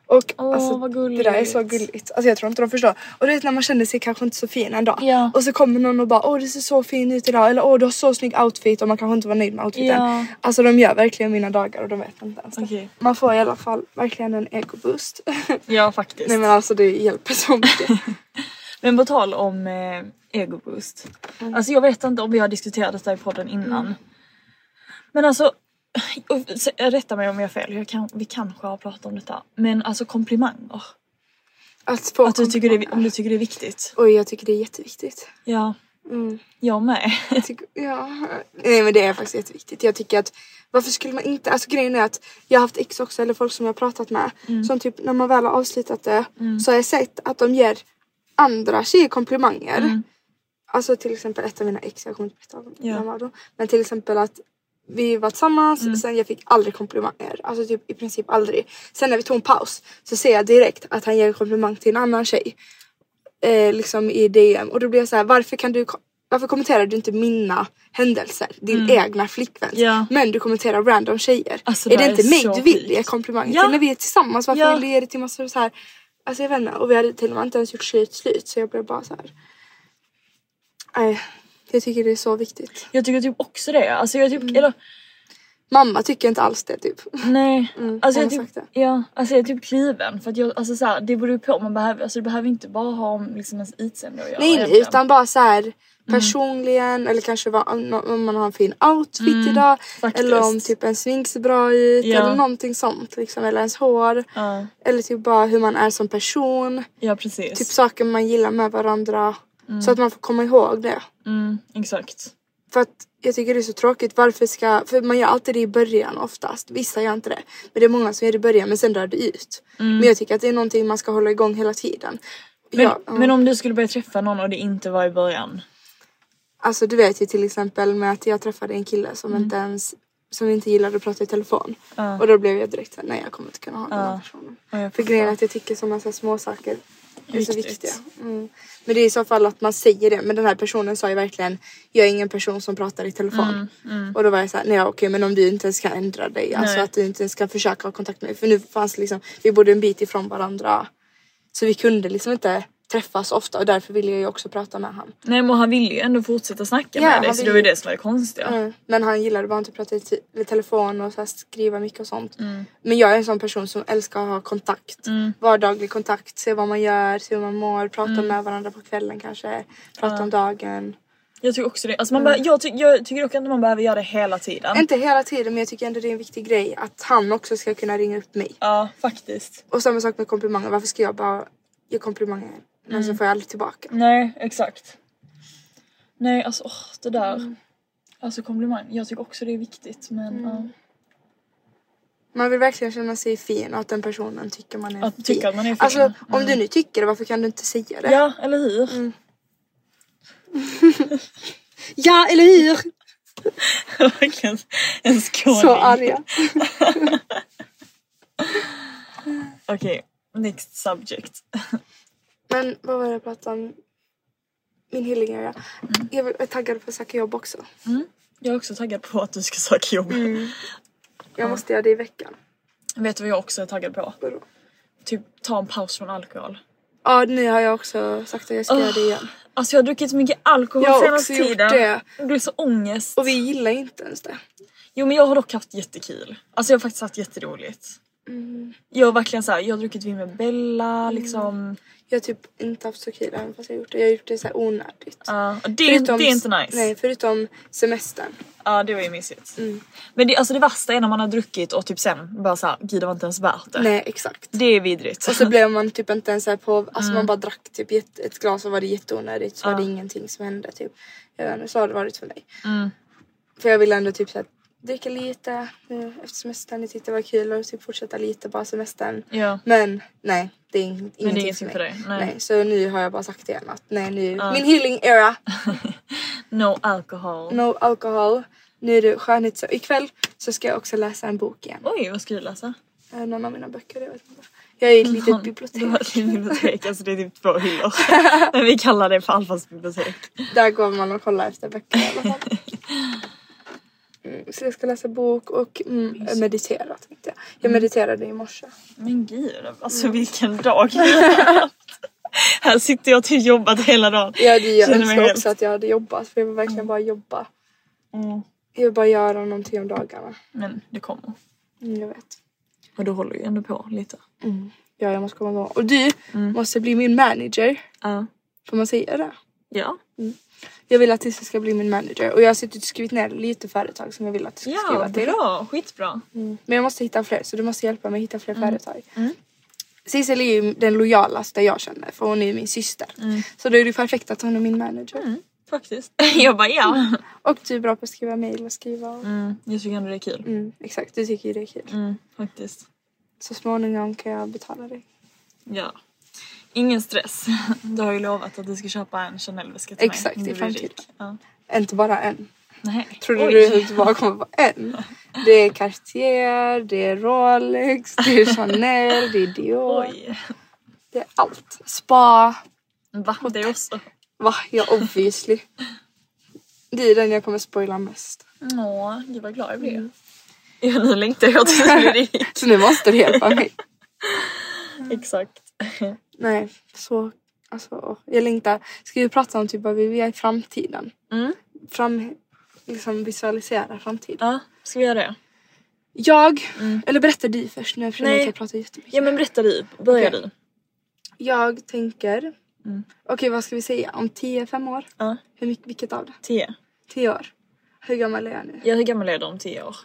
Speaker 1: Och
Speaker 2: Åh,
Speaker 1: alltså
Speaker 2: vad
Speaker 1: det där är så
Speaker 2: gulligt.
Speaker 1: gulligt. Alltså jag tror inte de förstår. Och du vet när man känner sig kanske inte så fin en dag.
Speaker 2: Ja.
Speaker 1: Och så kommer någon och bara åh du ser så fin ut idag eller åh du har så snygg outfit och man kanske inte var nöjd med outfiten.
Speaker 2: Ja.
Speaker 1: Alltså de gör verkligen mina dagar och de vet inte ens det.
Speaker 2: Okej.
Speaker 1: Man får i alla fall verkligen en egoboost.
Speaker 2: Ja faktiskt.
Speaker 1: Nej men alltså det hjälper så mycket.
Speaker 2: Men på tal om eh, egoboost.
Speaker 1: Mm.
Speaker 2: Alltså jag vet inte om vi har diskuterat detta i podden innan. Men alltså, och, se- rätta mig om jag har fel, jag kan, vi kanske har pratat om detta. Men alltså komplimanger.
Speaker 1: Att, få
Speaker 2: Att du tycker det, är vi- om du tycker det är viktigt.
Speaker 1: Oj jag tycker det är jätteviktigt.
Speaker 2: Ja.
Speaker 1: Mm.
Speaker 2: Jag med.
Speaker 1: Jag tycker, ja. Nej men det är faktiskt jätteviktigt. Jag tycker att varför skulle man inte, alltså grejen är att jag har haft ex också eller folk som jag har pratat med som typ när man väl har avslutat det så har jag sett att de ger andra tjejer komplimanger. Alltså till exempel ett av mina ex, jag kommer inte berätta om
Speaker 2: Ja.
Speaker 1: vem var då. Men till exempel att vi var tillsammans sen jag fick aldrig komplimanger. Alltså typ i princip aldrig. Sen när vi tog en paus så ser jag direkt att han ger en komplimang till en annan tjej eh, liksom i DM och då blir jag så här, varför kan du ko- varför kommenterar du inte mina händelser? Din egna flickvän.
Speaker 2: Mm. Ja.
Speaker 1: Men du kommenterar random tjejer.
Speaker 2: Alltså,
Speaker 1: är
Speaker 2: det
Speaker 1: det
Speaker 2: här
Speaker 1: inte
Speaker 2: är
Speaker 1: mig
Speaker 2: så
Speaker 1: du vill
Speaker 2: sjukt.
Speaker 1: ge komplimanger
Speaker 2: Ja.
Speaker 1: till? När vi är tillsammans, varför
Speaker 2: Ja.
Speaker 1: vill du ge det till massor så här? Alltså jag vet inte. Och vi hade till och med inte ens gjort slut, slut så jag blev bara så här. Nej, jag tycker det är så viktigt.
Speaker 2: Jag tycker typ också det. Alltså jag
Speaker 1: Mm.
Speaker 2: typ, eller
Speaker 1: Mamma tycker inte alls det typ.
Speaker 2: Nej, alltså,
Speaker 1: hon
Speaker 2: jag
Speaker 1: har
Speaker 2: typ,
Speaker 1: sagt
Speaker 2: ja, alltså jag är typ kliven för att jag, alltså så här, det beror ju på man behöver, alltså det behöver inte bara ha om liksom ens utseende att göra.
Speaker 1: Nej, nej
Speaker 2: egentligen.
Speaker 1: utan bara så här
Speaker 2: Mm.
Speaker 1: personligen eller kanske vad- om om man har en fin outfit idag
Speaker 2: Mm, faktiskt.
Speaker 1: eller om typ en sving ser bra ut
Speaker 2: Ja.
Speaker 1: eller någonting sånt liksom eller ens hår
Speaker 2: Ja.
Speaker 1: eller typ bara hur man är som person
Speaker 2: Ja precis.
Speaker 1: typ saker man gillar med varandra så att man får komma ihåg det
Speaker 2: mm, exakt.
Speaker 1: för att jag tycker det är så tråkigt varför ska för man gör alltid det i början oftast vissa gör inte det men det är många som gör det i början men sen drar det ut men jag tycker att det är någonting man ska hålla igång hela tiden
Speaker 2: Mm. Men,
Speaker 1: Ja, ja.
Speaker 2: men om du skulle börja träffa någon och det inte var i början.
Speaker 1: Alltså du vet ju till exempel med att jag träffade en kille som
Speaker 2: Mm.
Speaker 1: inte ens som inte gillade att prata i telefon. Och då blev jag direkt såhär, nej jag kommer inte kunna ha den här personen.
Speaker 2: Ja, jag
Speaker 1: För grejen är att
Speaker 2: fattar.
Speaker 1: jag tycker sådana så här små saker är så
Speaker 2: Viktigt.
Speaker 1: viktiga. Mm. Men det är i så fall att man säger det. Men den här personen sa ju verkligen, jag är ingen person som pratar i telefon.
Speaker 2: Mm,
Speaker 1: Och då var jag såhär, nej okej men om du inte ens kan ändra dig. Alltså
Speaker 2: Nej.
Speaker 1: att du inte ens kan försöka ha kontakt med mig. För nu fanns liksom, vi bodde en bit ifrån varandra. Så vi kunde liksom inte träffas ofta och därför ville jag ju också prata med han.
Speaker 2: Nej men han ville ju ändå fortsätta snacka
Speaker 1: Ja,
Speaker 2: med dig
Speaker 1: han
Speaker 2: så det
Speaker 1: ville
Speaker 2: var ju
Speaker 1: ju-
Speaker 2: det som var det konstiga.
Speaker 1: Mm. Men han gillade bara inte att prata i te- i telefon och så här skriva mycket och sånt.
Speaker 2: Mm.
Speaker 1: Men jag är en sån person som älskar att ha kontakt. Vardaglig kontakt, se vad man gör, se hur man mår, prata
Speaker 2: Mm.
Speaker 1: med varandra på kvällen kanske, prata om dagen.
Speaker 2: Jag tycker också det. Alltså man bara, jag, ty- jag tycker dock inte man behöver göra det hela tiden.
Speaker 1: Mm. Inte hela tiden men jag tycker ändå det är en viktig grej att han också ska kunna ringa upp mig.
Speaker 2: Ja faktiskt.
Speaker 1: Och samma sak med komplimanger, varför ska jag bara ge komplimanger men så
Speaker 2: Mm.
Speaker 1: får jag aldrig tillbaka?
Speaker 2: Nej exakt. Nej alltså åh, det där.
Speaker 1: Mm.
Speaker 2: Alltså komplimang. Jag tycker också det är viktigt men
Speaker 1: Mm.
Speaker 2: ja.
Speaker 1: Man vill verkligen känna sig fin och att den personen tycker man är
Speaker 2: Att
Speaker 1: fin.
Speaker 2: tycka att man är fin. Mm.
Speaker 1: Alltså om du nu tycker det, varför kan du inte säga det? Mm.
Speaker 2: Ja eller hur?
Speaker 1: ja eller hur?
Speaker 2: Verkligen en skåning.
Speaker 1: Så arga.
Speaker 2: Okej, next subject.
Speaker 1: Men vad var det jag pratade om? Min healing area.
Speaker 2: Mm.
Speaker 1: Jag vill- jag är taggad på att söka jobb också.
Speaker 2: Jag är också taggad på att du ska söka jobb.
Speaker 1: Mm. Jag måste göra det i veckan.
Speaker 2: Vet du vad jag också är taggad på?
Speaker 1: Vadå?
Speaker 2: Typ ta en paus från alkohol.
Speaker 1: Ja nu har jag också sagt att jag ska göra det igen.
Speaker 2: Alltså jag har druckit så mycket alkohol
Speaker 1: Jag har
Speaker 2: senaste
Speaker 1: också gjort
Speaker 2: tiden.
Speaker 1: det.
Speaker 2: Det blir så ångest.
Speaker 1: Och vi gillar inte ens det.
Speaker 2: Jo men jag har dock haft jättekul. Alltså jag har faktiskt haft jätteroligt.
Speaker 1: Mm.
Speaker 2: Jag har verkligen såhär, jag har druckit vin med Bella liksom.
Speaker 1: Jag har typ inte haft så kul även fast jag har gjort det. Jag har gjort det så här onödigt.
Speaker 2: Ja, och det, är- det är inte nice.
Speaker 1: Nej, Mm. förutom semestern.
Speaker 2: Ja det var ju mysigt. Men det, alltså det värsta är när man har druckit och typ sen bara såhär, gud det var inte ens värt det.
Speaker 1: Nej, exakt.
Speaker 2: Det är vidrigt.
Speaker 1: Och så blev man typ inte ens så här på, alltså
Speaker 2: Mm.
Speaker 1: man bara drack typ jätte- ett glas och var det jätteonödigt så var det ingenting som hände typ. Jag vet inte, så har det varit för mig.
Speaker 2: Mm.
Speaker 1: För jag ville ändå typ så här, dricka lite nu efter semestern, jag tyckte det var kul och typ fortsätta lite bara semestern.
Speaker 2: Ja.
Speaker 1: Men nej, det är ing- ingenting,
Speaker 2: ingenting för dig, nej.
Speaker 1: så nu har jag bara sagt igen att nej nu, min healing era,
Speaker 2: No alcohol.
Speaker 1: no alcohol. Nu är det skönhet så ikväll så ska jag också läsa en bok igen.
Speaker 2: Oj vad ska du läsa?
Speaker 1: Eh, Någon av mina böcker, jag vet inte. Jag är i ett litet
Speaker 2: Det var
Speaker 1: bibliotek.
Speaker 2: ett litet bibliotek, alltså det är typ två hyllor. Men vi kallar det för Alfas bibliotek.
Speaker 1: Där går man och kollar efter böcker i alla fall. Mm, så jag ska läsa bok och mm, meditera tänkte jag.
Speaker 2: Mm.
Speaker 1: Jag mediterade i morse.
Speaker 2: Men gud, alltså
Speaker 1: Mm.
Speaker 2: vilken dag! Här sitter jag och typ jobbat hela dagen.
Speaker 1: Ja, det, jag
Speaker 2: Känner mig
Speaker 1: önskar
Speaker 2: helt-
Speaker 1: också att jag hade jobbat för jag vill verkligen bara jobba.
Speaker 2: Mm.
Speaker 1: Jag vill bara göra någonting om dagarna.
Speaker 2: Men det kommer.
Speaker 1: Mm, jag vet.
Speaker 2: Och du håller ju ändå på lite.
Speaker 1: Ja, jag måste komma igång. Och du
Speaker 2: Mm.
Speaker 1: måste bli min manager.
Speaker 2: Ja.
Speaker 1: Får man säga det?
Speaker 2: ja.
Speaker 1: Jag vill att du ska bli min manager och jag har suttit och skrivit ner lite företag som jag vill att du ska skriva
Speaker 2: Ja,
Speaker 1: till. Mm.
Speaker 2: bra. Skitbra.
Speaker 1: Men jag måste hitta fler så du måste hjälpa mig hitta fler
Speaker 2: Mm.
Speaker 1: företag. Sissel är ju den lojalaste jag känner för hon är ju min syster.
Speaker 2: Mm.
Speaker 1: Så då är det ju perfekt att hon är min manager.
Speaker 2: Faktiskt. Jag bara
Speaker 1: Mm.
Speaker 2: ja.
Speaker 1: Och du är bra på att skriva mejl och skriva. Och... Mm.
Speaker 2: Mm, jag tycker ändå det är kul.
Speaker 1: exakt, du tycker ju det är kul.
Speaker 2: Mm, faktiskt.
Speaker 1: Så småningom kan jag betala dig.
Speaker 2: Ja. Ingen stress. Du har ju lovat att du ska köpa en Chanel-väska till
Speaker 1: Exakt, i
Speaker 2: mig. Du blir rik.
Speaker 1: framtiden.
Speaker 2: Ja.
Speaker 1: Inte bara en.
Speaker 2: Nej.
Speaker 1: Tror du
Speaker 2: Oj.
Speaker 1: du inte bara kommer på en? Det är Cartier, det är Rolex, det är Chanel, det är Dior.
Speaker 2: Oj.
Speaker 1: Det är allt. Spa.
Speaker 2: Va? Det är också.
Speaker 1: Va? Ja, obviously. Det är den jag kommer spoila mest.
Speaker 2: Åh, gud vad glad jag blev.
Speaker 1: Mm.
Speaker 2: Ja, nu längtar jag till att bli rik.
Speaker 1: Så nu måste du hjälpa mig.
Speaker 2: Exakt.
Speaker 1: Nej, så alltså, jag längtar. Ska vi prata om typ vad vi vill göra i framtiden?
Speaker 2: Mm.
Speaker 1: Fram, liksom visualisera framtiden.
Speaker 2: Ja, ska vi göra det?
Speaker 1: Jag, eller berättar du först nu eftersom
Speaker 2: Mm. Nej.
Speaker 1: jag kan prata jättemycket.
Speaker 2: Ja men berätta du, börja
Speaker 1: Okej.
Speaker 2: du.
Speaker 1: Jag tänker, okej vad ska vi säga, om 10-5 år?
Speaker 2: Mm. Ja.
Speaker 1: Hur mycket, vilket av det?
Speaker 2: Tio.
Speaker 1: 10 år? Hur gammal är jag nu?
Speaker 2: Ja, hur gammal är du om tio år?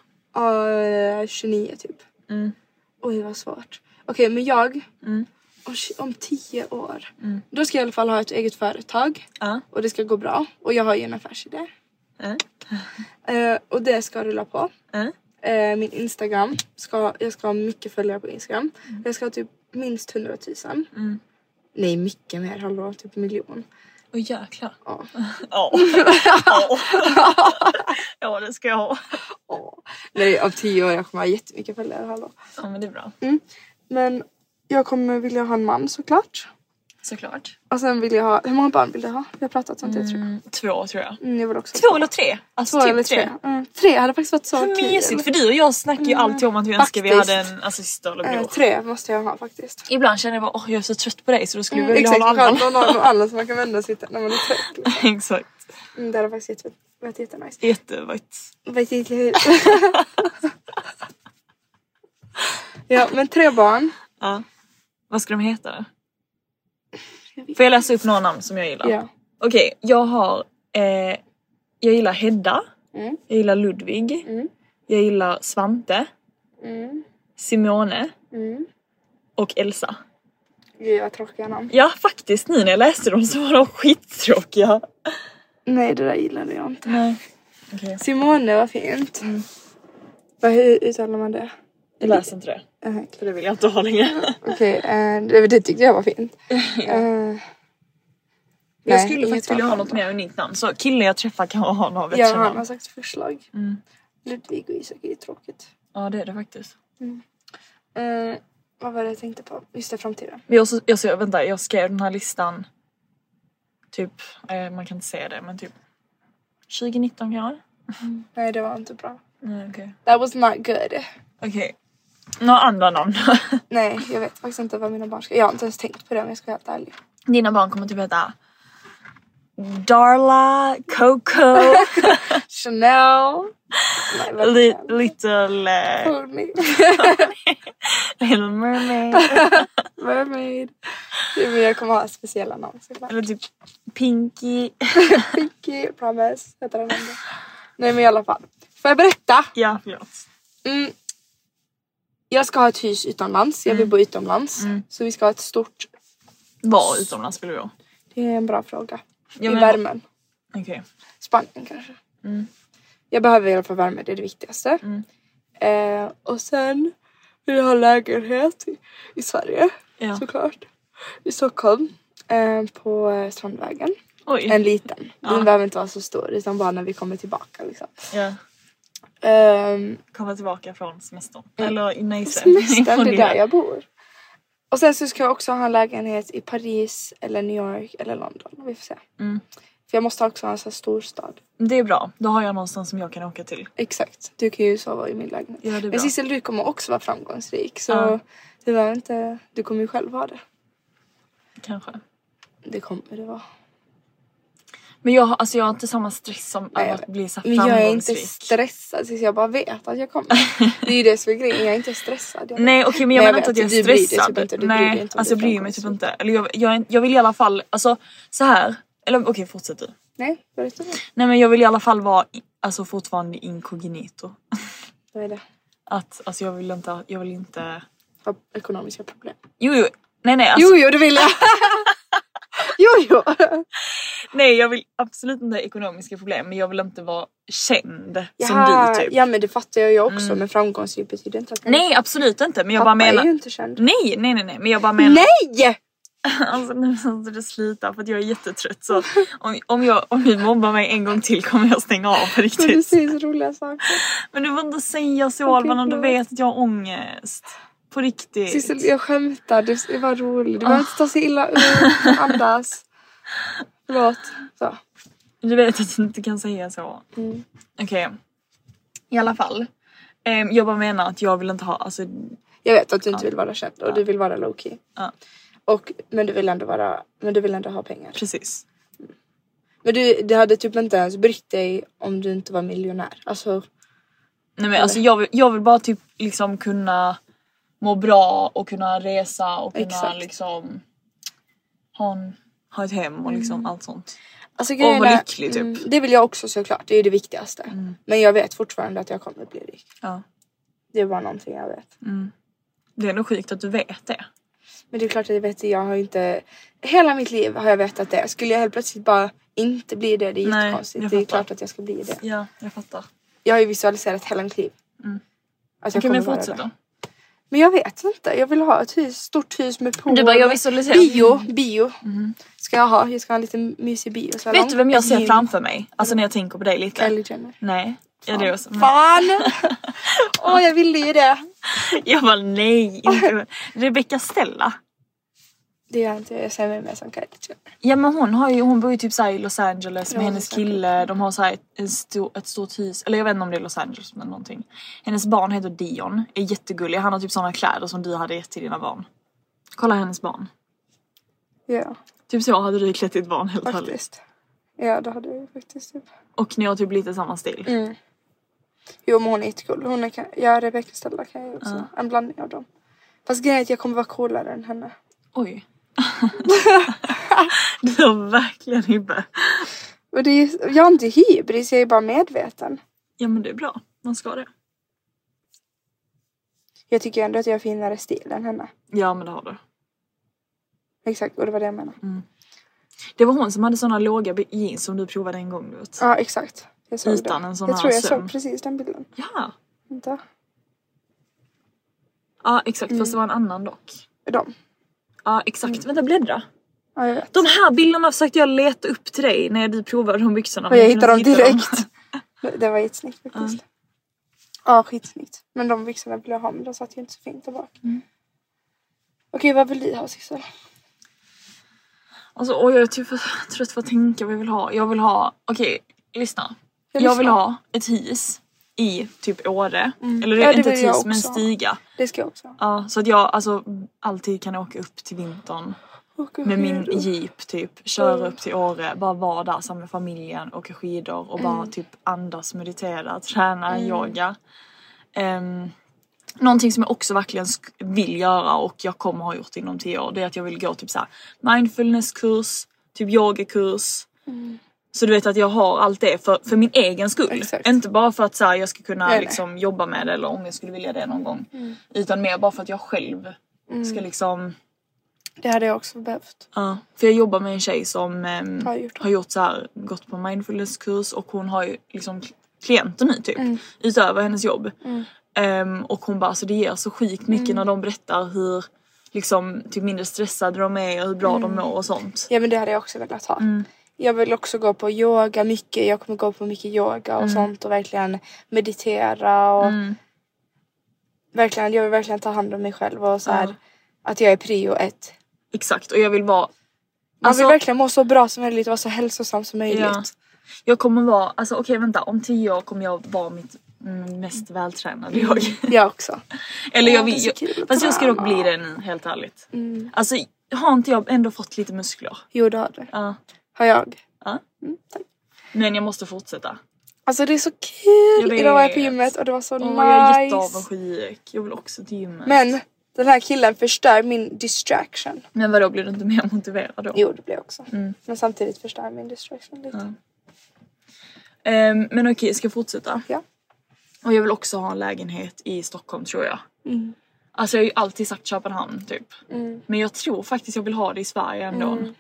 Speaker 1: Uh, 29 typ.
Speaker 2: Mm.
Speaker 1: Oj vad svårt. Okej men jag, om tj- om 10 år, då ska jag i alla fall ha ett eget företag
Speaker 2: Mm. Ja.
Speaker 1: och det ska gå bra och jag har ju en affärsidé.
Speaker 2: Ja.
Speaker 1: Eh, och det ska rulla på.
Speaker 2: Ja.
Speaker 1: Eh, min Instagram, ska, jag ska ha mycket följare på Instagram.
Speaker 2: Mm.
Speaker 1: Jag ska ha typ minst 100 000. Nej mycket mer, hallå typ miljon.
Speaker 2: Åh jäklar.
Speaker 1: Ja.
Speaker 2: Ja. Ja det ska jag ha.
Speaker 1: Åh. Nej om 10 år jag kommer ha jättemycket följare, hallå.
Speaker 2: Ja men det är bra.
Speaker 1: Men jag kommer vilja ha en man såklart.
Speaker 2: Såklart.
Speaker 1: Och sen vill jag ha, hur många barn vill du ha? Vi har pratat om det tror jag.
Speaker 2: Två tror jag.
Speaker 1: Mm, jag vill också
Speaker 2: Två eller tre? Alltså
Speaker 1: Två
Speaker 2: typ
Speaker 1: eller tre. Mm, tre hade faktiskt varit så
Speaker 2: Vad
Speaker 1: kul.
Speaker 2: mysigt för du och jag snackar ju alltid om att vi önskar vi
Speaker 1: Faktiskt.
Speaker 2: hade en alltså, syster eller bror.
Speaker 1: Eh, tre måste jag ha faktiskt.
Speaker 2: Ibland känner jag bara åh jag är så trött på dig så då skulle jag vilja
Speaker 1: Mm, Exakt,
Speaker 2: ha någon
Speaker 1: skönt
Speaker 2: annan.
Speaker 1: att ha någon annan som man kan vända sig till när man är trött. liksom.
Speaker 2: Exakt.
Speaker 1: Mm, det hade faktiskt jätte- varit jättenice.
Speaker 2: Jättevajt.
Speaker 1: Varit jätte- Ja men tre barn.
Speaker 2: Ja. Vad ska de heta då? Får jag läsa upp några namn som jag gillar?
Speaker 1: Ja.
Speaker 2: Okej, jag har... Eh, jag gillar Hedda.
Speaker 1: Mm.
Speaker 2: Jag gillar Ludvig. Jag gillar Svante.
Speaker 1: Mm.
Speaker 2: Simone.
Speaker 1: Mm.
Speaker 2: Och Elsa.
Speaker 1: Gud vad tråkiga namn.
Speaker 2: Ja, faktiskt nu när jag läste dem så var de skittråkiga.
Speaker 1: Nej det där gillade jag inte.
Speaker 2: Nej. Mm.
Speaker 1: Simone var fint. Vad, hur uttalar man det?
Speaker 2: Jag läser inte det.
Speaker 1: Eh,
Speaker 2: För det vill jag inte ha längre.
Speaker 1: Okej, eh, det, det tyckte jag var fint. Eh,
Speaker 2: Jag
Speaker 1: nej,
Speaker 2: skulle
Speaker 1: inget
Speaker 2: faktiskt vilja ha
Speaker 1: annat.
Speaker 2: något mer unikt namn. Så killen jag träffar kan ha några
Speaker 1: Ja,
Speaker 2: vettiga
Speaker 1: han har
Speaker 2: namn.
Speaker 1: sagt förslag.
Speaker 2: Mm.
Speaker 1: Ludvig och Isak är ju tråkigt.
Speaker 2: Ja, det är det faktiskt.
Speaker 1: Eh, vad var det jag tänkte på? Just det, framtiden.
Speaker 2: Men jag, så, jag, så, vänta, jag skrev den här listan typ, eh, man kan inte säga det, men typ 2019 kanske?
Speaker 1: Nej, det var inte bra.
Speaker 2: Nej, okej.
Speaker 1: That was not good.
Speaker 2: Okej. Några andra namn.
Speaker 1: Nej, jag vet faktiskt inte vad mina barn ska... Jag har inte ens tänkt på det om jag ska vara helt ärlig.
Speaker 2: Dina barn kommer typ heta Darla, Coco,
Speaker 1: Chanel! Nej, vad
Speaker 2: li,
Speaker 1: fan.
Speaker 2: Little, eh,
Speaker 1: Hold me.
Speaker 2: little Mermaid.
Speaker 1: Mermaid. Jo, men jag kommer ha speciella namn såklart.
Speaker 2: Eller typ Pinky.
Speaker 1: Pinky Promise heter den andra. Nej men i alla fall. Får jag berätta?
Speaker 2: Ja, förlåt.
Speaker 1: Mm. Jag ska ha ett hus utomlands.
Speaker 2: Mm.
Speaker 1: Jag vill bo utomlands. Så vi ska ha ett stort.
Speaker 2: Var utomlands vill du
Speaker 1: Det är en bra fråga.
Speaker 2: Ja,
Speaker 1: I
Speaker 2: men- Mm.
Speaker 1: värmen.
Speaker 2: Okej.
Speaker 1: Spanien kanske. Jag behöver i alla fall värme, det är det viktigaste.
Speaker 2: Mm.
Speaker 1: Eh, och sen vill jag ha lägenhet i, i Sverige.
Speaker 2: Ja.
Speaker 1: Såklart. I Stockholm. Eh, på eh, Strandvägen.
Speaker 2: Oj.
Speaker 1: En liten. Den behöver inte vara så stor utan bara när vi kommer tillbaka liksom.
Speaker 2: Ja.
Speaker 1: Ehm,
Speaker 2: Komma tillbaka från semestern. Eller nej, sen.
Speaker 1: semestern,
Speaker 2: Från
Speaker 1: det är
Speaker 2: lilla.
Speaker 1: där jag bor. Och sen så ska jag också ha en lägenhet i Paris eller New York eller London. Vi får se.
Speaker 2: Mm.
Speaker 1: För jag måste också ha en sån här storstad.
Speaker 2: Det är bra, då har jag någonstans som jag kan åka till.
Speaker 1: Exakt, du kan ju sova i min lägenhet.
Speaker 2: Ja, det är bra.
Speaker 1: Men Sissel du kommer också vara framgångsrik så
Speaker 2: Ja.
Speaker 1: du behöver inte, du kommer ju själv ha det.
Speaker 2: Kanske.
Speaker 1: Det kommer du vara.
Speaker 2: Men jag har, alltså jag har inte samma stress som
Speaker 1: Nej, jag
Speaker 2: av att
Speaker 1: vet.
Speaker 2: bli så här
Speaker 1: Men jag är inte
Speaker 2: framgångsrik.
Speaker 1: stressad tills jag bara vet att jag kommer. Det är ju det som är grejen, jag är inte stressad. Jag
Speaker 2: Nej okej men jag
Speaker 1: Nej,
Speaker 2: menar
Speaker 1: jag
Speaker 2: inte att
Speaker 1: vet.
Speaker 2: jag
Speaker 1: Du bryr
Speaker 2: är
Speaker 1: dig typ
Speaker 2: stressad.
Speaker 1: inte, du bryr dig
Speaker 2: Nej
Speaker 1: inte om
Speaker 2: alltså jag
Speaker 1: du är
Speaker 2: bryr mig typ
Speaker 1: framgångsrik.
Speaker 2: inte. Eller jag, jag, jag vill i alla fall, alltså så här. Eller okej fortsätt du.
Speaker 1: Nej, berätta nu.
Speaker 2: Nej men jag vill i alla fall vara i- alltså fortfarande inkognito.
Speaker 1: Vad är det?
Speaker 2: Att alltså jag vill inte, jag vill inte.
Speaker 1: Har ekonomiska problem.
Speaker 2: Jo jo. Nej nej alltså,
Speaker 1: Jo, jo, det vill jag. jo, jo.
Speaker 2: nej jag vill absolut inte ha ekonomiska problem men jag vill inte vara känd som
Speaker 1: Jaha,
Speaker 2: du typ. Mm.
Speaker 1: Ja, men det fattar jag ju också. Men framgångsrik betyder inte att man
Speaker 2: Nej absolut inte men jag
Speaker 1: Pappa
Speaker 2: bara menar.
Speaker 1: är ju inte känd.
Speaker 2: Nej nej nej nej men jag bara menar.
Speaker 1: Nej!
Speaker 2: Alltså nu måste du sluta för att jag är jättetrött så om, om, jag, om du mobbar mig en gång till kommer jag stänga av på
Speaker 1: Men du
Speaker 2: riktigt.
Speaker 1: säger så roliga saker.
Speaker 2: Men du får inte säga så Alban om du
Speaker 1: förlåt.
Speaker 2: vet att jag har ångest. På riktigt.
Speaker 1: Sissel, jag skämtar. Du det var rolig. Du
Speaker 2: Ah.
Speaker 1: behöver inte ta så illa ut. Andas. Förlåt. Så.
Speaker 2: Du vet att du inte kan säga så. Okej. I alla fall. Ehm, jag bara menar att jag vill inte ha, alltså
Speaker 1: Jag vet att du inte vill vara känd och du vill vara low key.
Speaker 2: Ja.
Speaker 1: Och, men, du vill ändå vara, men du vill ändå ha pengar.
Speaker 2: precis.
Speaker 1: Men du, du hade typ inte ens brytt dig om du inte var miljonär. Alltså,
Speaker 2: Nej men alltså jag vill, jag vill bara typ liksom kunna må bra och kunna resa och kunna
Speaker 1: Exakt.
Speaker 2: liksom ha, en, ha ett hem och liksom allt sånt.
Speaker 1: Alltså,
Speaker 2: vara
Speaker 1: grejen är-
Speaker 2: lycklig, typ. Mm.
Speaker 1: Mm, det vill jag också såklart, det är ju det viktigaste. Men jag vet fortfarande att jag kommer bli rik.
Speaker 2: Ja.
Speaker 1: Det är bara någonting jag vet.
Speaker 2: Det är nog sjukt att du vet det.
Speaker 1: Men det är klart att jag vet det, jag har inte... Hela mitt liv har jag vetat det. Skulle jag helt plötsligt bara inte bli det, det är
Speaker 2: Nej,
Speaker 1: jättekonstigt.
Speaker 2: jag
Speaker 1: Det är
Speaker 2: fattar.
Speaker 1: klart att jag ska bli det.
Speaker 2: Ja, jag fattar.
Speaker 1: Jag har ju visualiserat hela mitt liv. Att jag
Speaker 2: Mm. Okej men
Speaker 1: kommer vara
Speaker 2: fortsätt
Speaker 1: det.
Speaker 2: då.
Speaker 1: Men jag vet inte, jag vill ha ett hus, stort hus med pool.
Speaker 2: Du bara, jag visualiserar. Mm.
Speaker 1: Bio, bio. Ska jag ha, jag ska ha en liten mysig biosalong.
Speaker 2: Vet du vem jag
Speaker 1: Ett
Speaker 2: ser
Speaker 1: gym.
Speaker 2: framför mig? Alltså när jag tänker på dig lite.
Speaker 1: Kylie Jenner.
Speaker 2: Nej. Ja, det är också. Men
Speaker 1: Fan! Åh jag ville ju det.
Speaker 2: jag bara nej. Inte. Rebecca Stella.
Speaker 1: Det gör inte jag. Jag ser mig mer som Kardashian.
Speaker 2: Ja men hon, har ju, hon bor ju typ såhär i Los Angeles med
Speaker 1: Ja,
Speaker 2: hennes
Speaker 1: säkert.
Speaker 2: kille. De har såhär ett, en stor, ett stort hus. Eller jag vet inte om det är Los Angeles men någonting. Hennes barn heter Dion. Är jättegullig. Han har typ såna kläder som du hade gett till dina barn. Kolla hennes barn.
Speaker 1: Ja,
Speaker 2: Typ så hade du klätt ditt barn helt ärligt.
Speaker 1: faktiskt. Ja, det hade jag ju faktiskt. Typ.
Speaker 2: Och ni har typ lite samma stil.
Speaker 1: Jo, men hon är jättecool. Hon är, kan- ja, Rebecca Stella kan jag också. En blandning av dem. Fast grejen är att jag kommer vara coolare än henne.
Speaker 2: Oj. du har verkligen hibbe.
Speaker 1: Och det är, ju- jag är inte hybris, jag är bara medveten.
Speaker 2: Ja men det är bra. Man ska det.
Speaker 1: Jag tycker ändå att jag har finare stil än henne.
Speaker 2: Ja men det har du.
Speaker 1: Exakt, och det var det jag menade.
Speaker 2: Mm. Det var hon som hade såna låga be- jeans som du provade en gång du vet.
Speaker 1: Ja, exakt. Jag såg
Speaker 2: Utan
Speaker 1: det.
Speaker 2: en sån
Speaker 1: jag
Speaker 2: här
Speaker 1: tror jag
Speaker 2: söm.
Speaker 1: såg precis den bilden.
Speaker 2: Ja.
Speaker 1: Vänta.
Speaker 2: Ja exakt fast det var en annan dock.
Speaker 1: De.
Speaker 2: Ja exakt. Mm. Vänta bläddra.
Speaker 1: Ja, jag vet.
Speaker 2: De här bilderna försökte jag leta upp till dig när du provade de byxorna.
Speaker 1: Och jag
Speaker 2: kunde
Speaker 1: hittade dem
Speaker 2: inte hitta
Speaker 1: direkt. Det- Det var jättesnyggt faktiskt. Ja, skitsnyggt. Men de byxorna ville jag ha, men de satt ju inte så fint där bak.
Speaker 2: Mm.
Speaker 1: Okej, vad vill du ha Sissel?
Speaker 2: Alltså oj jag är typ för trött för att tänka vad jag vill ha. Jag vill ha, okej lyssna. Jag,
Speaker 1: lyssnar.
Speaker 2: vill ha ett his i typ Åre. Eller
Speaker 1: Ja, det
Speaker 2: inte ett
Speaker 1: vill jag
Speaker 2: his men en
Speaker 1: också ha.
Speaker 2: stiga.
Speaker 1: Det ska jag också ha.
Speaker 2: Ja, så att jag alltså alltid kan åka upp till vintern
Speaker 1: Åka
Speaker 2: med min
Speaker 1: skidor.
Speaker 2: jeep typ. Köra upp till Åre, bara vara där samman med familjen, åka skidor och
Speaker 1: Mm.
Speaker 2: bara typ andas, meditera, träna, yoga. Um, någonting som jag också verkligen sk- vill göra och jag kommer ha gjort inom 10 år det är att jag vill gå typ så här mindfulnesskurs, typ yogakurs.
Speaker 1: Mm.
Speaker 2: Så du vet att jag har allt det för, för min egen skull.
Speaker 1: Exakt.
Speaker 2: Inte bara för att så här, jag ska kunna
Speaker 1: Nej, Mm. nej.
Speaker 2: liksom, jobba med det eller om jag skulle vilja det någon gång. Utan mer bara för att jag själv
Speaker 1: Mm.
Speaker 2: ska liksom
Speaker 1: Det hade jag också behövt.
Speaker 2: Ja, för jag jobbar med en tjej som ehm,
Speaker 1: Har gjort det.
Speaker 2: har gjort så här, gått på mindfulnesskurs och hon har ju liksom kl- klienter nu typ
Speaker 1: Mm.
Speaker 2: utöver hennes jobb. Ehm, och hon bara alltså det ger så sjukt mycket
Speaker 1: Mm.
Speaker 2: när de berättar hur liksom typ mindre stressade de är och hur bra de
Speaker 1: Mm.
Speaker 2: mår och sånt.
Speaker 1: Ja men det hade jag också velat ha.
Speaker 2: Mm.
Speaker 1: Jag vill också gå på yoga mycket. Jag kommer gå på mycket yoga och
Speaker 2: Mm.
Speaker 1: sånt och verkligen meditera och verkligen, jag vill verkligen ta hand om mig själv och så här, att jag är prio ett.
Speaker 2: Exakt och jag vill vara
Speaker 1: Man
Speaker 2: Alltså-
Speaker 1: vill verkligen må så bra som möjligt och vara så hälsosam som möjligt.
Speaker 2: Ja. Jag kommer vara, alltså okej vänta om tio år kommer jag vara mitt mm, mest vältränade jag.
Speaker 1: Jag också.
Speaker 2: Eller
Speaker 1: Åh,
Speaker 2: jag
Speaker 1: Mm. det är
Speaker 2: vill
Speaker 1: så
Speaker 2: jag,
Speaker 1: kul att
Speaker 2: Fast jag ska dock
Speaker 1: träna. Mm.
Speaker 2: bli det nu helt ärligt. Alltså har inte jag ändå fått lite muskler?
Speaker 1: Jo det har du.
Speaker 2: Ja.
Speaker 1: Har jag.
Speaker 2: Ja.
Speaker 1: Mm, tack.
Speaker 2: Men jag måste fortsätta.
Speaker 1: Alltså det är så
Speaker 2: Jag
Speaker 1: kul!
Speaker 2: vet.
Speaker 1: Idag var jag på gymmet och det var så
Speaker 2: Åh,
Speaker 1: nice.
Speaker 2: Jag är jätteavundsjuk. Jag vill också till gymmet.
Speaker 1: Men den här killen förstör min distraction.
Speaker 2: Men vadå, blir du inte mer motiverad då?
Speaker 1: Jo det blev jag också.
Speaker 2: Mm.
Speaker 1: Men samtidigt förstör min distraction lite.
Speaker 2: Ehm, men okej, ska jag fortsätta?
Speaker 1: Ja.
Speaker 2: Och jag vill också ha en lägenhet i Stockholm tror jag.
Speaker 1: Mm.
Speaker 2: Alltså jag har ju alltid sagt Köpenhamn typ. Men jag tror faktiskt jag vill ha det i Sverige ändå.
Speaker 1: Mm.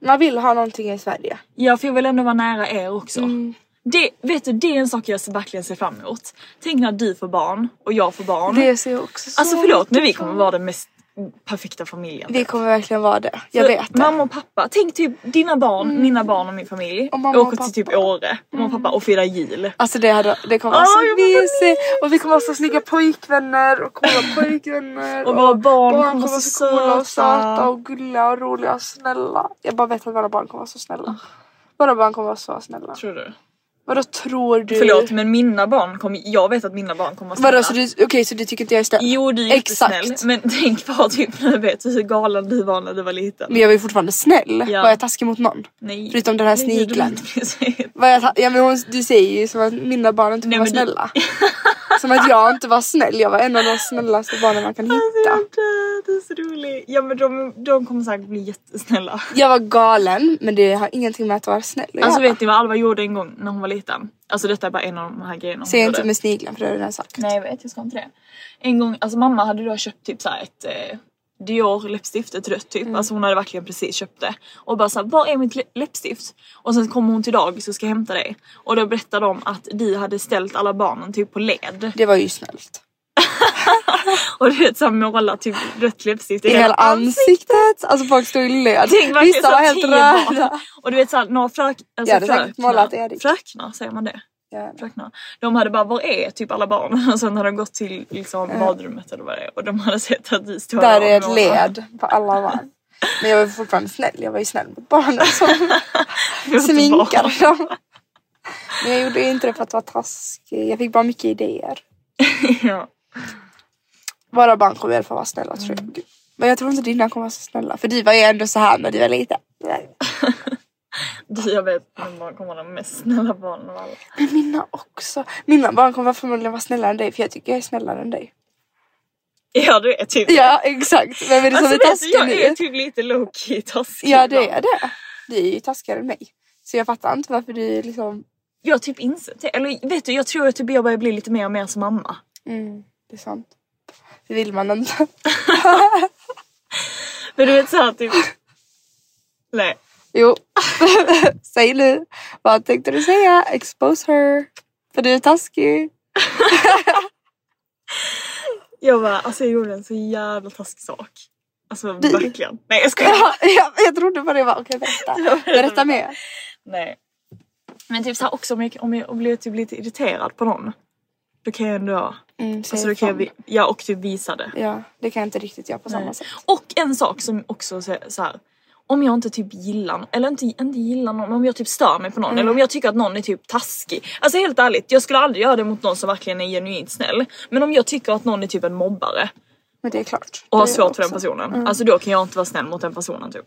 Speaker 1: Man vill ha någonting i Sverige.
Speaker 2: Ja, för jag vill ändå vara nära er också.
Speaker 1: Mm.
Speaker 2: Det, vet du, det är en sak jag verkligen ser fram emot. Tänk när du får barn och jag får barn.
Speaker 1: Det ser jag också så
Speaker 2: Alltså förlåt, men vi kommer vara den mest perfekta familjen.
Speaker 1: Vi kommer verkligen vara det. Jag
Speaker 2: För
Speaker 1: vet det. Mm.
Speaker 2: Mamma och pappa, tänk typ dina barn, mina barn och min familj.
Speaker 1: Och mamma
Speaker 2: jag åker
Speaker 1: och
Speaker 2: till typ
Speaker 1: pappa. Mm.
Speaker 2: Åre, mamma och pappa och firar jul.
Speaker 1: Alltså det, hade, det kommer vara
Speaker 2: Ah,
Speaker 1: så
Speaker 2: jag vill ha
Speaker 1: mysigt och vi kommer ha så snygga pojkvänner och kommer vara pojkvänner
Speaker 2: Och våra barn kommer
Speaker 1: kommer
Speaker 2: vara
Speaker 1: vara
Speaker 2: så
Speaker 1: så coola och
Speaker 2: söta.
Speaker 1: söta och gulliga och roliga och snälla. Jag bara vet att våra barn kommer vara så snälla.
Speaker 2: Ah.
Speaker 1: Våra barn kommer vara så snälla.
Speaker 2: Tror du?
Speaker 1: Vadå tror du?
Speaker 2: Förlåt men mina barn kommer, jag vet att mina barn kommer vara
Speaker 1: Vadå
Speaker 2: snälla.
Speaker 1: så du, okej så du tycker inte jag är snäll?
Speaker 2: Jo du är
Speaker 1: Exakt.
Speaker 2: jättesnäll men tänk bara typ nu vet du hur galen du var när du var liten.
Speaker 1: Men jag var ju fortfarande snäll.
Speaker 2: Ja.
Speaker 1: Var jag taskig mot någon?
Speaker 2: Nej.
Speaker 1: Förutom den här
Speaker 2: Herregud,
Speaker 1: snigeln.
Speaker 2: du vet precis.
Speaker 1: Var jag ta- ja, men hon, du säger ju som att mina barn inte får
Speaker 2: Nej,
Speaker 1: vara
Speaker 2: men du-
Speaker 1: snälla. som att jag inte var snäll. Jag var en av de snällaste barnen man kan
Speaker 2: Alltså,
Speaker 1: hitta.
Speaker 2: jag dör, Du är så rolig. Ja men de, de kommer säkert bli jättesnälla.
Speaker 1: Jag var galen men det har ingenting med att vara snäll att
Speaker 2: Alltså
Speaker 1: göra.
Speaker 2: vet ni vad Alva gjorde en gång när hon var liten? Alltså detta är bara en av de här grejerna hon
Speaker 1: Säg
Speaker 2: gjorde.
Speaker 1: inte med snigeln för det har jag redan sagt.
Speaker 2: Nej jag vet, jag ska inte det. En gång, alltså mamma hade då köpt typ såhär ett eh, Dior läppstift, ett rött
Speaker 1: Mm.
Speaker 2: typ. Alltså hon hade verkligen precis köpt det. Och bara såhär, var är mitt lä- läppstift? Och sen kommer hon till dagis och ska hämta det. Och då berättar de att du hade ställt alla barnen typ på led.
Speaker 1: Det var ju snällt.
Speaker 2: Och du vet såhär målat typ rött läppstift
Speaker 1: I hela ansiktet. Alltså folk stod i led.
Speaker 2: Tänk verkligen
Speaker 1: Vissa
Speaker 2: så
Speaker 1: var
Speaker 2: här
Speaker 1: helt
Speaker 2: tio
Speaker 1: röda.
Speaker 2: barn. Och du vet såhär, några frök, alltså
Speaker 1: Ja, det är säkert målat Erik.
Speaker 2: fröknar, säger man det?
Speaker 1: Ja.
Speaker 2: fröknar. De hade bara, var är typ alla barn? Och sen hade de gått till liksom badrummet eller vad det är och de hade sett att vi stod
Speaker 1: Där
Speaker 2: och
Speaker 1: är ett
Speaker 2: målade.
Speaker 1: led på alla barn. Men jag var fortfarande snäll. Jag var ju snäll mot barnen som
Speaker 2: Jag vet inte
Speaker 1: sminkade
Speaker 2: vad.
Speaker 1: dem. Men jag gjorde ju inte det för att vara taskig. Jag fick bara mycket idéer.
Speaker 2: ja.
Speaker 1: Våra barn kommer i alla fall vara snälla tror
Speaker 2: Mm.
Speaker 1: jag. Men jag tror inte dina kommer vara så snälla. För du var ju ändå så här när du var liten. Nej.
Speaker 2: Du, Jag vet vem man kommer vara de mest snälla barnen av alla.
Speaker 1: Men mina också. Mina barn kommer förmodligen vara snällare än dig för jag tycker jag är snällare än dig.
Speaker 2: Ja du är typ
Speaker 1: Ja exakt. Vem är det som
Speaker 2: Alltså
Speaker 1: är
Speaker 2: vet du,
Speaker 1: taskig
Speaker 2: jag är
Speaker 1: nu?
Speaker 2: typ lite low-key taskig.
Speaker 1: Ja det är
Speaker 2: ibland.
Speaker 1: det. Du är ju taskigare än mig. Så jag fattar inte varför du liksom...
Speaker 2: Jag har typ insett det. Eller vet du, jag tror att typ jag börjar bli lite mer och mer som mamma.
Speaker 1: Mm, det är sant. Det vill man inte.
Speaker 2: Men du vet såhär typ... Nej.
Speaker 1: Jo. Säg nu. Vad tänkte du säga? Expose her. För du är taskig.
Speaker 2: Jag bara, alltså jag gjorde en så jävla taskig sak. Alltså
Speaker 1: Vi-
Speaker 2: verkligen. Nej jag skojar.
Speaker 1: Ja, jag, jag trodde på det. Jag bara, Okej berätta. Berätta mer.
Speaker 2: Nej. Men typ såhär också om jag, om jag blir typ lite irriterad på någon. Då kan jag ändå...
Speaker 1: Mm, säg
Speaker 2: Alltså då kan jag,
Speaker 1: fan.
Speaker 2: vi- ja och typ visa det. Eh,
Speaker 1: Ja, det kan jag inte riktigt göra på samma sätt.
Speaker 2: Och en sak som också så så här. Om jag inte typ gillar, eller inte, inte gillar någon, men om jag typ stör mig på
Speaker 1: Mm.
Speaker 2: någon eller om jag tycker att någon är typ taskig. Alltså helt ärligt, jag skulle aldrig göra det mot någon som verkligen är genuint snäll. Men om jag tycker att någon är typ en mobbare
Speaker 1: Men det är klart.
Speaker 2: och har
Speaker 1: Det är
Speaker 2: svårt
Speaker 1: också. Mm.
Speaker 2: för den personen. Alltså då kan jag inte vara snäll mot den personen typ.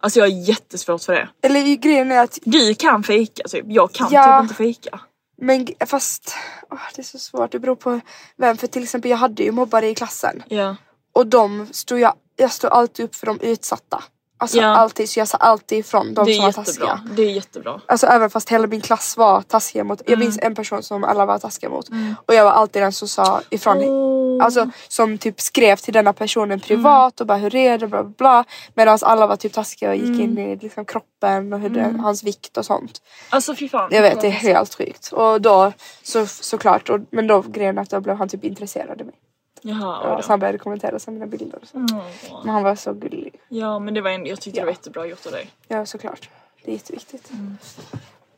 Speaker 2: Alltså jag har jättesvårt för det.
Speaker 1: Eller ju, grejen är att,
Speaker 2: Du kan fejka typ, jag kan
Speaker 1: Ja.
Speaker 2: typ inte fejka.
Speaker 1: men g- fast åh, det är så svårt. Det beror på vem. För till exempel jag hade ju mobbare i klassen.
Speaker 2: Ja.
Speaker 1: Och de stod jag, jag stod alltid upp för de utsatta. Alltså
Speaker 2: Ja.
Speaker 1: alltid, så jag sa alltid ifrån de
Speaker 2: Det
Speaker 1: som
Speaker 2: är
Speaker 1: var
Speaker 2: jättebra.
Speaker 1: taskiga.
Speaker 2: Det är jättebra.
Speaker 1: Alltså även fast hela min klass var taskiga mot, jag minns en person som alla var taskiga mot. Och jag var alltid den som sa ifrån.
Speaker 2: Åh.
Speaker 1: Alltså som typ skrev till denna personen privat och bara hur är det bla bla bla. Medan alla var typ taskiga och gick in i liksom, kroppen och hur det, hans vikt och sånt.
Speaker 2: Alltså fy fan.
Speaker 1: Jag vet det är helt sjukt. Och då så, såklart, och, men då grejen är att då blev han typ intresserad av mig.
Speaker 2: Jaha,
Speaker 1: Ja,
Speaker 2: oj
Speaker 1: så
Speaker 2: då.
Speaker 1: han började kommentera så mina bilder och så.
Speaker 2: Mm.
Speaker 1: Men han var så gullig.
Speaker 2: Ja men det var en, jag tyckte det var
Speaker 1: Ja.
Speaker 2: jättebra gjort av dig.
Speaker 1: Ja såklart. Det är jätteviktigt.
Speaker 2: Mm.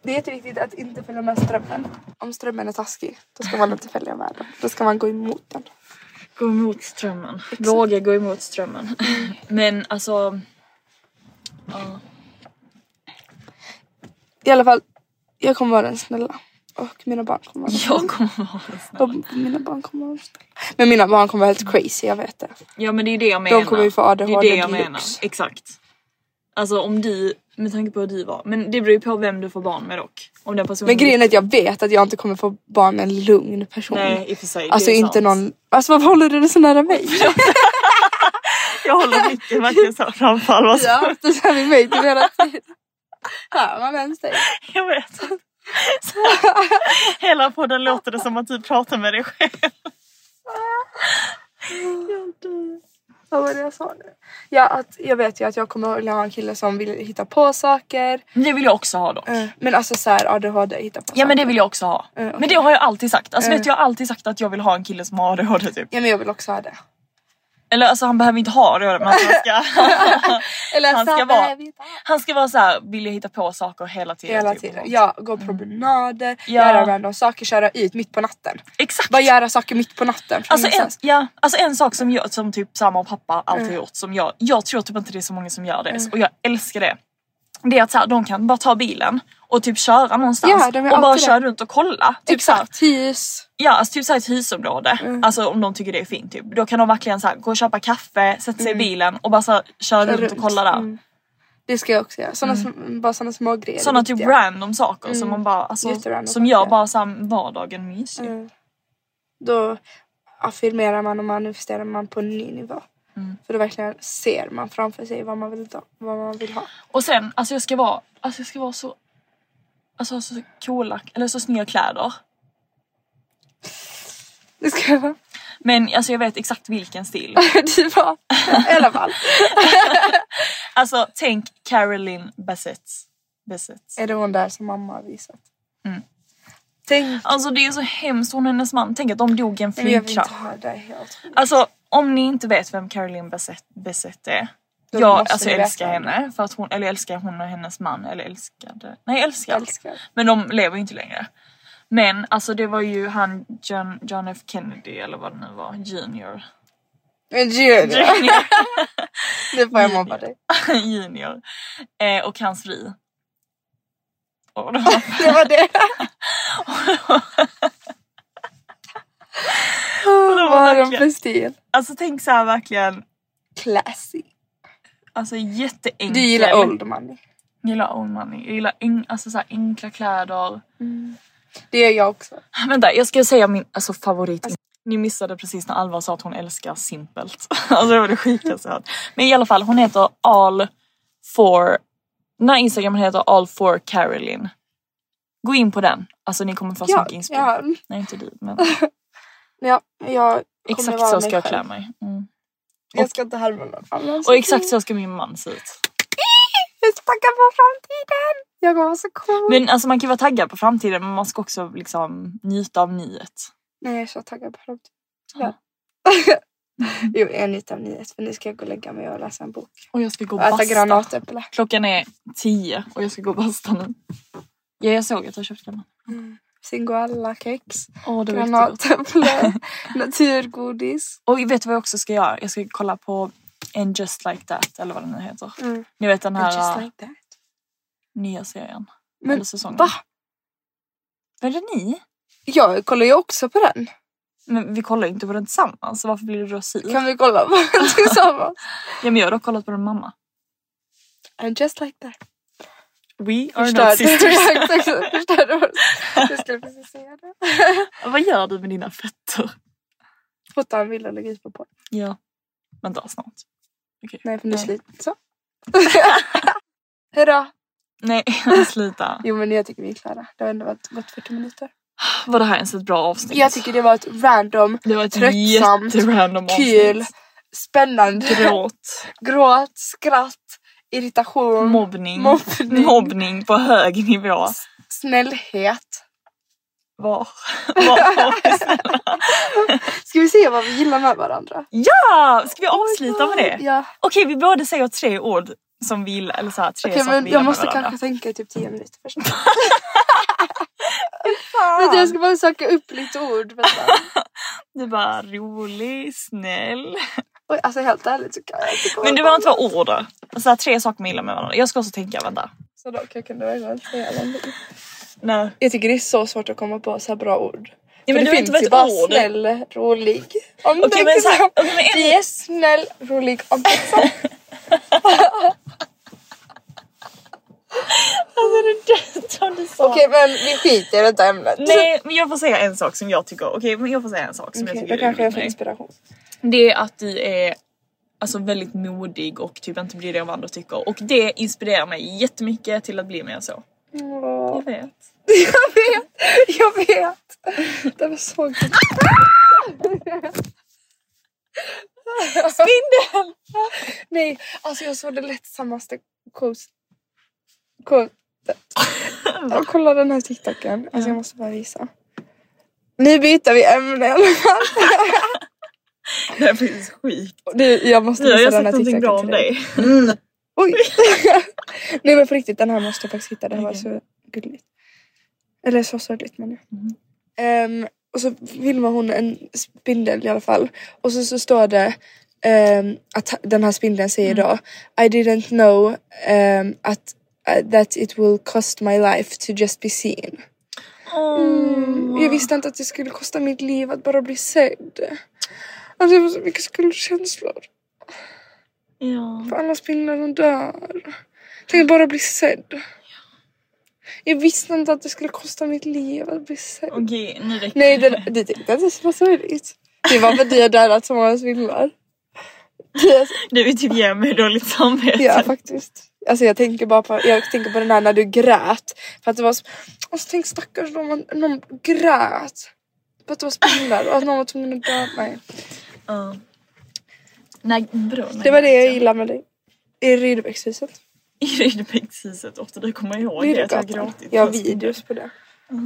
Speaker 1: Det är jätteviktigt att inte följa med strömmen. Om strömmen är taskig då ska man inte följa med den. Då ska man gå emot den.
Speaker 2: Gå emot strömmen. Våga gå emot strömmen.
Speaker 1: Mm.
Speaker 2: Men alltså,
Speaker 1: I alla fall, jag kommer vara den snälla. Och mina barn kommer vara
Speaker 2: jag kommer vara en snäll.
Speaker 1: Och mina barn kommer vara snälla. Men mina barn kommer vara helt crazy, jag vet det.
Speaker 2: Ja men det är det jag menar.
Speaker 1: kommer ju få ADHD
Speaker 2: Det är det jag
Speaker 1: deluxe.
Speaker 2: menar. Exakt. Alltså om du, med tanke på hur du var. Men det beror ju på vem du får barn med dock. Om den personen...
Speaker 1: Men grejen är att jag vet att jag inte kommer få barn med en lugn person.
Speaker 2: Nej i och för sig.
Speaker 1: alltså
Speaker 2: det är
Speaker 1: inte
Speaker 2: sant.
Speaker 1: någon... Alltså varför håller du dig så nära mig?
Speaker 2: Jag håller blicken verkligen såhär framför alla.
Speaker 1: ja, du kör vid mig till hela tiden. Hör man ens dig?
Speaker 2: Jag vet. Så, hela podden låter det som att du pratar med dig själv.
Speaker 1: Vad var det jag sa nu? Ja, att jag vet ju att jag kommer vilja ha en kille som vill hitta på saker.
Speaker 2: Det vill jag också ha dock.
Speaker 1: Eh, Men alltså såhär ADHD, hitta på
Speaker 2: Mm. Ja
Speaker 1: saker.
Speaker 2: men det vill jag också ha.
Speaker 1: Mm, okej. Mm.
Speaker 2: Men det har jag alltid sagt. Alltså vet du, jag har alltid sagt att jag vill ha en kille som har ADHD typ.
Speaker 1: Ja men jag vill också ha det.
Speaker 2: Eller alltså han behöver inte ha ADHD men han ska,
Speaker 1: Eller
Speaker 2: Han ska
Speaker 1: så
Speaker 2: vara-
Speaker 1: behöver vi inte ha.
Speaker 2: han ska vara så här, vilja hitta på saker hela tiden.
Speaker 1: Hela
Speaker 2: typ,
Speaker 1: tiden.
Speaker 2: och sånt.
Speaker 1: Ja, gå promenader,
Speaker 2: Ja.
Speaker 1: göra random saker, köra ut mitt på natten.
Speaker 2: Exakt!
Speaker 1: Bara göra saker mitt på natten. från
Speaker 2: Alltså en,
Speaker 1: ingenstans.
Speaker 2: ja, alltså en sak som, jag, som typ samma och pappa alltid
Speaker 1: Mm.
Speaker 2: har gjort som jag, jag tror typ inte det är så många som gör det och jag älskar det. Det är att så här, de kan bara ta bilen och typ köra någonstans
Speaker 1: Ja, de gör
Speaker 2: och bara
Speaker 1: alltid
Speaker 2: köra
Speaker 1: det.
Speaker 2: runt och kolla. Typ så här,
Speaker 1: Exakt, hus.
Speaker 2: Ja, alltså typ såhär ett husområde.
Speaker 1: Mm.
Speaker 2: Alltså om de tycker det är fint typ. Då kan de verkligen såhär gå och köpa kaffe, sätta sig i bilen och bara såhär köra runt, och
Speaker 1: Mm. runt.
Speaker 2: kolla där.
Speaker 1: Mm. Det ska jag också göra. Såna, sm- Bara sådana små grejer. är
Speaker 2: Sådana Mm. typ
Speaker 1: viktiga.
Speaker 2: random saker som man bara, alltså,
Speaker 1: Jätterandom
Speaker 2: som gör
Speaker 1: saker. Mm.
Speaker 2: bara såhär vardagen mysig.
Speaker 1: Då affirmerar man och manifesterar man på en ny nivå.
Speaker 2: Mm.
Speaker 1: För då verkligen ser man framför sig vad man vill, ta, vad man vill ha.
Speaker 2: Och sen, alltså jag ska vara, alltså jag ska vara så, alltså så coola, eller så snygga kläder.
Speaker 1: Det ska jag vara.
Speaker 2: Men alltså jag vet exakt vilken stil.
Speaker 1: Du var. I alla fall.
Speaker 2: Alltså tänk Caroline Bassett. Bassett.
Speaker 1: Är det hon där som mamma har visat?
Speaker 2: Mm.
Speaker 1: Tänk.
Speaker 2: Alltså det är så hemskt, hon och hennes man, tänk att de dog i en
Speaker 1: Men jag vill inte
Speaker 2: flygkrasch.
Speaker 1: ha det helt.
Speaker 2: Alltså om ni inte vet vem Caroline Bassett, Bassett är.
Speaker 1: Då
Speaker 2: Jag
Speaker 1: måste
Speaker 2: alltså,
Speaker 1: ni
Speaker 2: jag
Speaker 1: veta
Speaker 2: älskar
Speaker 1: henne.
Speaker 2: henne. För att hon, eller jag älskar hon och hennes man. Eller älskade. Nej älskar.
Speaker 1: Älskar.
Speaker 2: Men de lever ju inte längre. Men alltså det var ju han John, John F Kennedy eller vad det nu var. Junior.
Speaker 1: Men Junior,
Speaker 2: Junior.
Speaker 1: nu får jag mobba dig.
Speaker 2: Junior. Eh, och hans fru. Och då-
Speaker 1: Det var det.
Speaker 2: var
Speaker 1: Vad har de
Speaker 2: verkligen-
Speaker 1: för stil?
Speaker 2: alltså tänk så här verkligen.
Speaker 1: Classy.
Speaker 2: Alltså jätteenkel.
Speaker 1: Du gillar old money.
Speaker 2: Jag gillar old money. Jag gillar en, alltså så här enkla kläder.
Speaker 1: Det gör jag också.
Speaker 2: Vänta, jag ska säga min alltså, favorit. Ni missade precis när Alva sa att hon älskar simpelt. Alltså det var det sjukaste jag hört. Men i alla fall, hon heter all for... Den här instagramen heter all for Caroline. Gå in på den. Alltså ni kommer få så
Speaker 1: Ja,
Speaker 2: mycket inspiration.
Speaker 1: ja,
Speaker 2: Nej inte du men
Speaker 1: ja, jag kommer
Speaker 2: exakt
Speaker 1: vara
Speaker 2: så
Speaker 1: mig
Speaker 2: ska jag
Speaker 1: själv.
Speaker 2: klä mig. Mm.
Speaker 1: Jag ska inte härma någon annan.
Speaker 2: Och exakt så ska min man se ut.
Speaker 1: Jag ska tacka på framtiden. Jag kommer vara så cool.
Speaker 2: Men alltså man kan ju vara taggad på framtiden men man ska också liksom njuta av nyet.
Speaker 1: Nej jag är så taggad på framtiden. Tyvärr. jo en utav nio för nu ska jag gå och lägga mig och läsa en bok.
Speaker 2: Och jag ska gå och
Speaker 1: Och äta
Speaker 2: basta.
Speaker 1: granatäpple.
Speaker 2: Klockan är tio och jag ska gå och basta nu. Ja jag såg att jag köpte den.
Speaker 1: Singoalla-kex.
Speaker 2: Åh det var jättegott.
Speaker 1: Granatäpple. naturgodis.
Speaker 2: Och vet du vad jag också ska göra? Jag ska kolla på And Just Like That eller vad den nu heter.
Speaker 1: Mm.
Speaker 2: Ni vet den
Speaker 1: And
Speaker 2: här
Speaker 1: Just
Speaker 2: äh,
Speaker 1: like that.
Speaker 2: nya serien.
Speaker 1: Men
Speaker 2: eller säsongen.
Speaker 1: va?
Speaker 2: Var det ni?
Speaker 1: Jag kollar ju också på den.
Speaker 2: Men vi kollar ju inte på den tillsammans så varför blir du då sur?
Speaker 1: Kan vi kolla på den tillsammans?
Speaker 2: Ja men jag har dock kollat på den med mamma.
Speaker 1: And just like that.
Speaker 2: We
Speaker 1: Exakt, Förstörde oss. Jag skulle precis säga det.
Speaker 2: Vad gör du med dina fötter?
Speaker 1: Fota en bild och lägga ut på podd.
Speaker 2: Ja. Vänta snart. Okej.
Speaker 1: Nej för nu är
Speaker 2: Nej.
Speaker 1: slut. Så. Hejdå.
Speaker 2: Nej sluta.
Speaker 1: Jo men jag tycker vi är klara. Det har ändå varit gått 40 minuter.
Speaker 2: Var det här ens ett bra avsnitt?
Speaker 1: Jag tycker det var ett random,
Speaker 2: det var ett
Speaker 1: tröttsamt,
Speaker 2: jätterandom
Speaker 1: kul,
Speaker 2: avsnitt.
Speaker 1: spännande,
Speaker 2: Gråt.
Speaker 1: gråt, skratt, irritation,
Speaker 2: Mobbning.
Speaker 1: Mobbning.
Speaker 2: Mobbning på hög nivå.
Speaker 1: snällhet.
Speaker 2: Var? Var?
Speaker 1: Ska vi se vad vi gillar med varandra?
Speaker 2: ja! Ska vi avsluta med det?
Speaker 1: Oh Ja.
Speaker 2: Okej vi båda säger tre ord som vi gillar eller så här, tre
Speaker 1: Okej
Speaker 2: saker
Speaker 1: men
Speaker 2: vi gillar
Speaker 1: jag
Speaker 2: med
Speaker 1: måste
Speaker 2: varandra.
Speaker 1: kanske tänka i typ 10 minuter först. Vänta jag ska bara söka upp lite ord. Vänta.
Speaker 2: Du bara rolig, snäll.
Speaker 1: Oj, alltså helt ärligt så kan jag inte komma
Speaker 2: Men det
Speaker 1: på
Speaker 2: behöver inte vara ord. Så här, tre saker man gillar med varandra. Jag ska också tänka, vänta.
Speaker 1: något. Så dock, jag kunde verkligen inte säga någonting.
Speaker 2: Nej.
Speaker 1: Jag tycker det är så svårt att komma på så här bra ord.
Speaker 2: Ja,
Speaker 1: För
Speaker 2: men
Speaker 1: det
Speaker 2: det
Speaker 1: finns
Speaker 2: var
Speaker 1: ju
Speaker 2: inte
Speaker 1: bara
Speaker 2: bara ett ord.
Speaker 1: snäll, rolig,
Speaker 2: Okej, men så här-
Speaker 1: omtänksam.
Speaker 2: okej, men en-
Speaker 1: Vi är snäll, rolig, omtänksam.
Speaker 2: Alltså det är det som du sa.
Speaker 1: Okej men vi skiter i detta ämnet.
Speaker 2: Nej men jag får säga en sak som jag tycker, okej men jag får säga en sak som
Speaker 1: Okej,
Speaker 2: jag tycker
Speaker 1: då kanske jag
Speaker 2: rolig
Speaker 1: får
Speaker 2: med dig.
Speaker 1: inspiration.
Speaker 2: Det är att du är alltså, väldigt modig och typ inte bryr dig om vad andra tycker. Och det inspirerar mig jättemycket till att bli mer så.
Speaker 1: Åh.
Speaker 2: Jag vet.
Speaker 1: Jag vet, jag vet. Det var så gott. Spindel! Nej, alltså jag såg det lättsammaste quote- quotet. Och kolla den här tiktoken. Alltså jag måste bara visa. Nu byter vi ämne i alla fall.
Speaker 2: Det är faktiskt sjukt.
Speaker 1: Du, jag måste
Speaker 2: Nu har
Speaker 1: visa
Speaker 2: jag
Speaker 1: den
Speaker 2: sagt
Speaker 1: här
Speaker 2: någonting
Speaker 1: tiktoken
Speaker 2: bra om
Speaker 1: till dig.
Speaker 2: dig. Mm.
Speaker 1: Oj! Nej men på riktigt, den här måste jag faktiskt hitta. Det här var så gulligt. Eller så sorgligt men ja. Ehm, och så filmar hon en spindel i alla fall. Och så, så står det ehm, att den här spindeln säger då I didn't know ehm, att, eh, that it will cost my life to just be seen.
Speaker 2: Mm.
Speaker 1: Jag visste inte att det skulle kosta mitt liv att bara bli sedd. Alltså det var så mycket skuldkänslor.
Speaker 2: Ja.
Speaker 1: För alla spindlar de dör. Tänk att bara bli sedd. Jag visste inte att det skulle kosta mitt liv att bli sedd.
Speaker 2: Okej nu räcker
Speaker 1: Nej, det, du tänkte att det var sorgligt. Det var för att du har dödat så många spindlar. Det-
Speaker 2: Du vill typ ge mig dåligt samvete.
Speaker 1: Ja, faktiskt. Alltså jag tänker bara på, jag tänker på den här när du grät. För att det var så, och så tänk stackars om man, någon grät. För att det var spindlar och att någon var tvungen att döda mig.
Speaker 2: Ja. Nej, bro, nej.
Speaker 1: Det var det jag gillade med dig. I Rydebäckshuset.
Speaker 2: I Rydebäckshuset ofta, du kommer ihåg det, att jag har
Speaker 1: Lillgatan.
Speaker 2: gråtit.
Speaker 1: Jag har videos på det.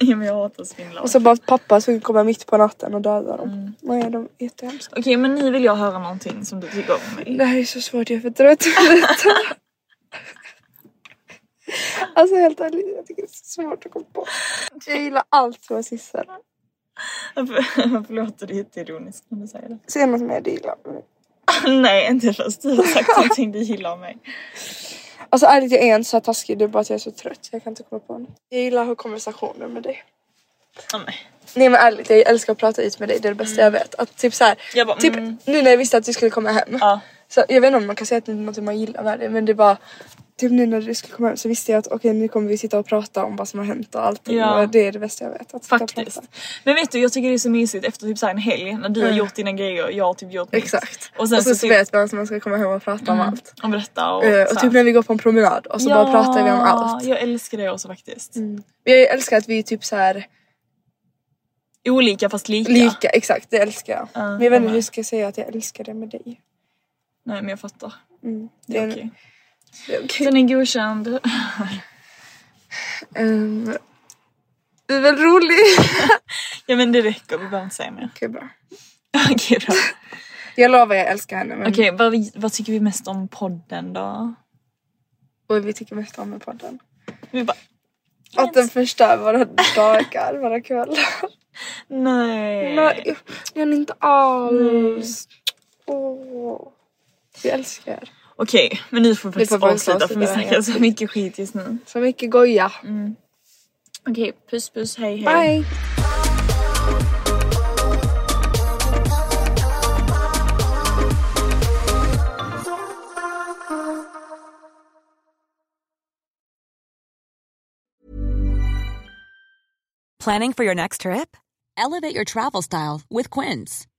Speaker 2: ja, men jag hatar spindlar.
Speaker 1: Och så bara att pappa skulle komma mitt på natten och döda dem.
Speaker 2: Mm.
Speaker 1: Nej, de är jättehemska.
Speaker 2: Okej men nu vill jag höra någonting som du tycker om mig.
Speaker 1: Det här är så svårt, jag är för trött för detta. alltså helt ärligt, jag tycker det är så svårt att komma på. Jag gillar allt med Sissel.
Speaker 2: Förlåt, det är jätteironiskt när du säger det.
Speaker 1: Säger man som jag, det gillar jag.
Speaker 2: Nej, inte först du har sagt någonting du gillar om mig.
Speaker 1: Alltså ärligt, jag är inte så här taskig. Det är bara att jag är så trött. Jag kan inte komma på något. Jag gillar att ha konversationer med dig.
Speaker 2: Ja, nej.
Speaker 1: Nej men ärligt, jag älskar att prata ut med dig. Det är det bästa jag vet. Att typ så här,
Speaker 2: Mm. Jag bara,
Speaker 1: typ
Speaker 2: mm.
Speaker 1: nu när jag visste att du skulle komma hem.
Speaker 2: Ja.
Speaker 1: Så jag vet inte om man kan säga att det är något man gillar med det men det var typ nu när du skulle komma hem så visste jag att okej nu kommer vi sitta och prata om vad som har hänt och allting.
Speaker 2: Ja.
Speaker 1: Och det är det bästa jag vet. Att sitta och
Speaker 2: Faktiskt.
Speaker 1: prata.
Speaker 2: Men vet du, jag tycker det är så mysigt efter typ så här en helg när du har
Speaker 1: Mm.
Speaker 2: gjort dina grejer och jag har typ gjort mitt.
Speaker 1: Exakt.
Speaker 2: Och sen så
Speaker 1: så
Speaker 2: typ-
Speaker 1: vet man att man ska komma hem och prata om allt.
Speaker 2: Och berätta och,
Speaker 1: Eh,
Speaker 2: så
Speaker 1: och
Speaker 2: här.
Speaker 1: typ när vi går på en promenad och så bara pratar vi om allt.
Speaker 2: Jag älskar det också faktiskt.
Speaker 1: Jag älskar att vi är typ så här
Speaker 2: Olika fast lika.
Speaker 1: lika, exakt det älskar jag.
Speaker 2: Ja,
Speaker 1: men jag vet
Speaker 2: jag
Speaker 1: inte hur
Speaker 2: med.
Speaker 1: jag ska säga att jag älskar det med dig.
Speaker 2: Nej men jag fattar.
Speaker 1: Det
Speaker 2: Mm. Det är
Speaker 1: en-
Speaker 2: okej.
Speaker 1: det är okej.
Speaker 2: Den är godkänd.
Speaker 1: Ehm, Det är väl roligt.
Speaker 2: ja men det räcker, vi behöver inte säga mer.
Speaker 1: Okej bra.
Speaker 2: Okej då.
Speaker 1: Jag lovar jag älskar henne men
Speaker 2: Okej, vad, vi- vad tycker vi mest om podden då?
Speaker 1: och vi tycker mest om med podden.
Speaker 2: Vi bara,
Speaker 1: Att den förstör våra dagar, våra kvällar.
Speaker 2: nej.
Speaker 1: Nej, jag- jag är inte alls. Åh. Vi älskar er.
Speaker 2: Okej, men nu får vi faktiskt
Speaker 1: får bara
Speaker 2: avsluta för vi
Speaker 1: avsluta det här,
Speaker 2: snackar
Speaker 1: ja.
Speaker 2: så mycket skit just nu.
Speaker 1: Så mycket goja.
Speaker 2: Okej, puss puss, hej hej.
Speaker 1: Bye!
Speaker 3: Planning for your next trip? Elevate your travel style with Quince.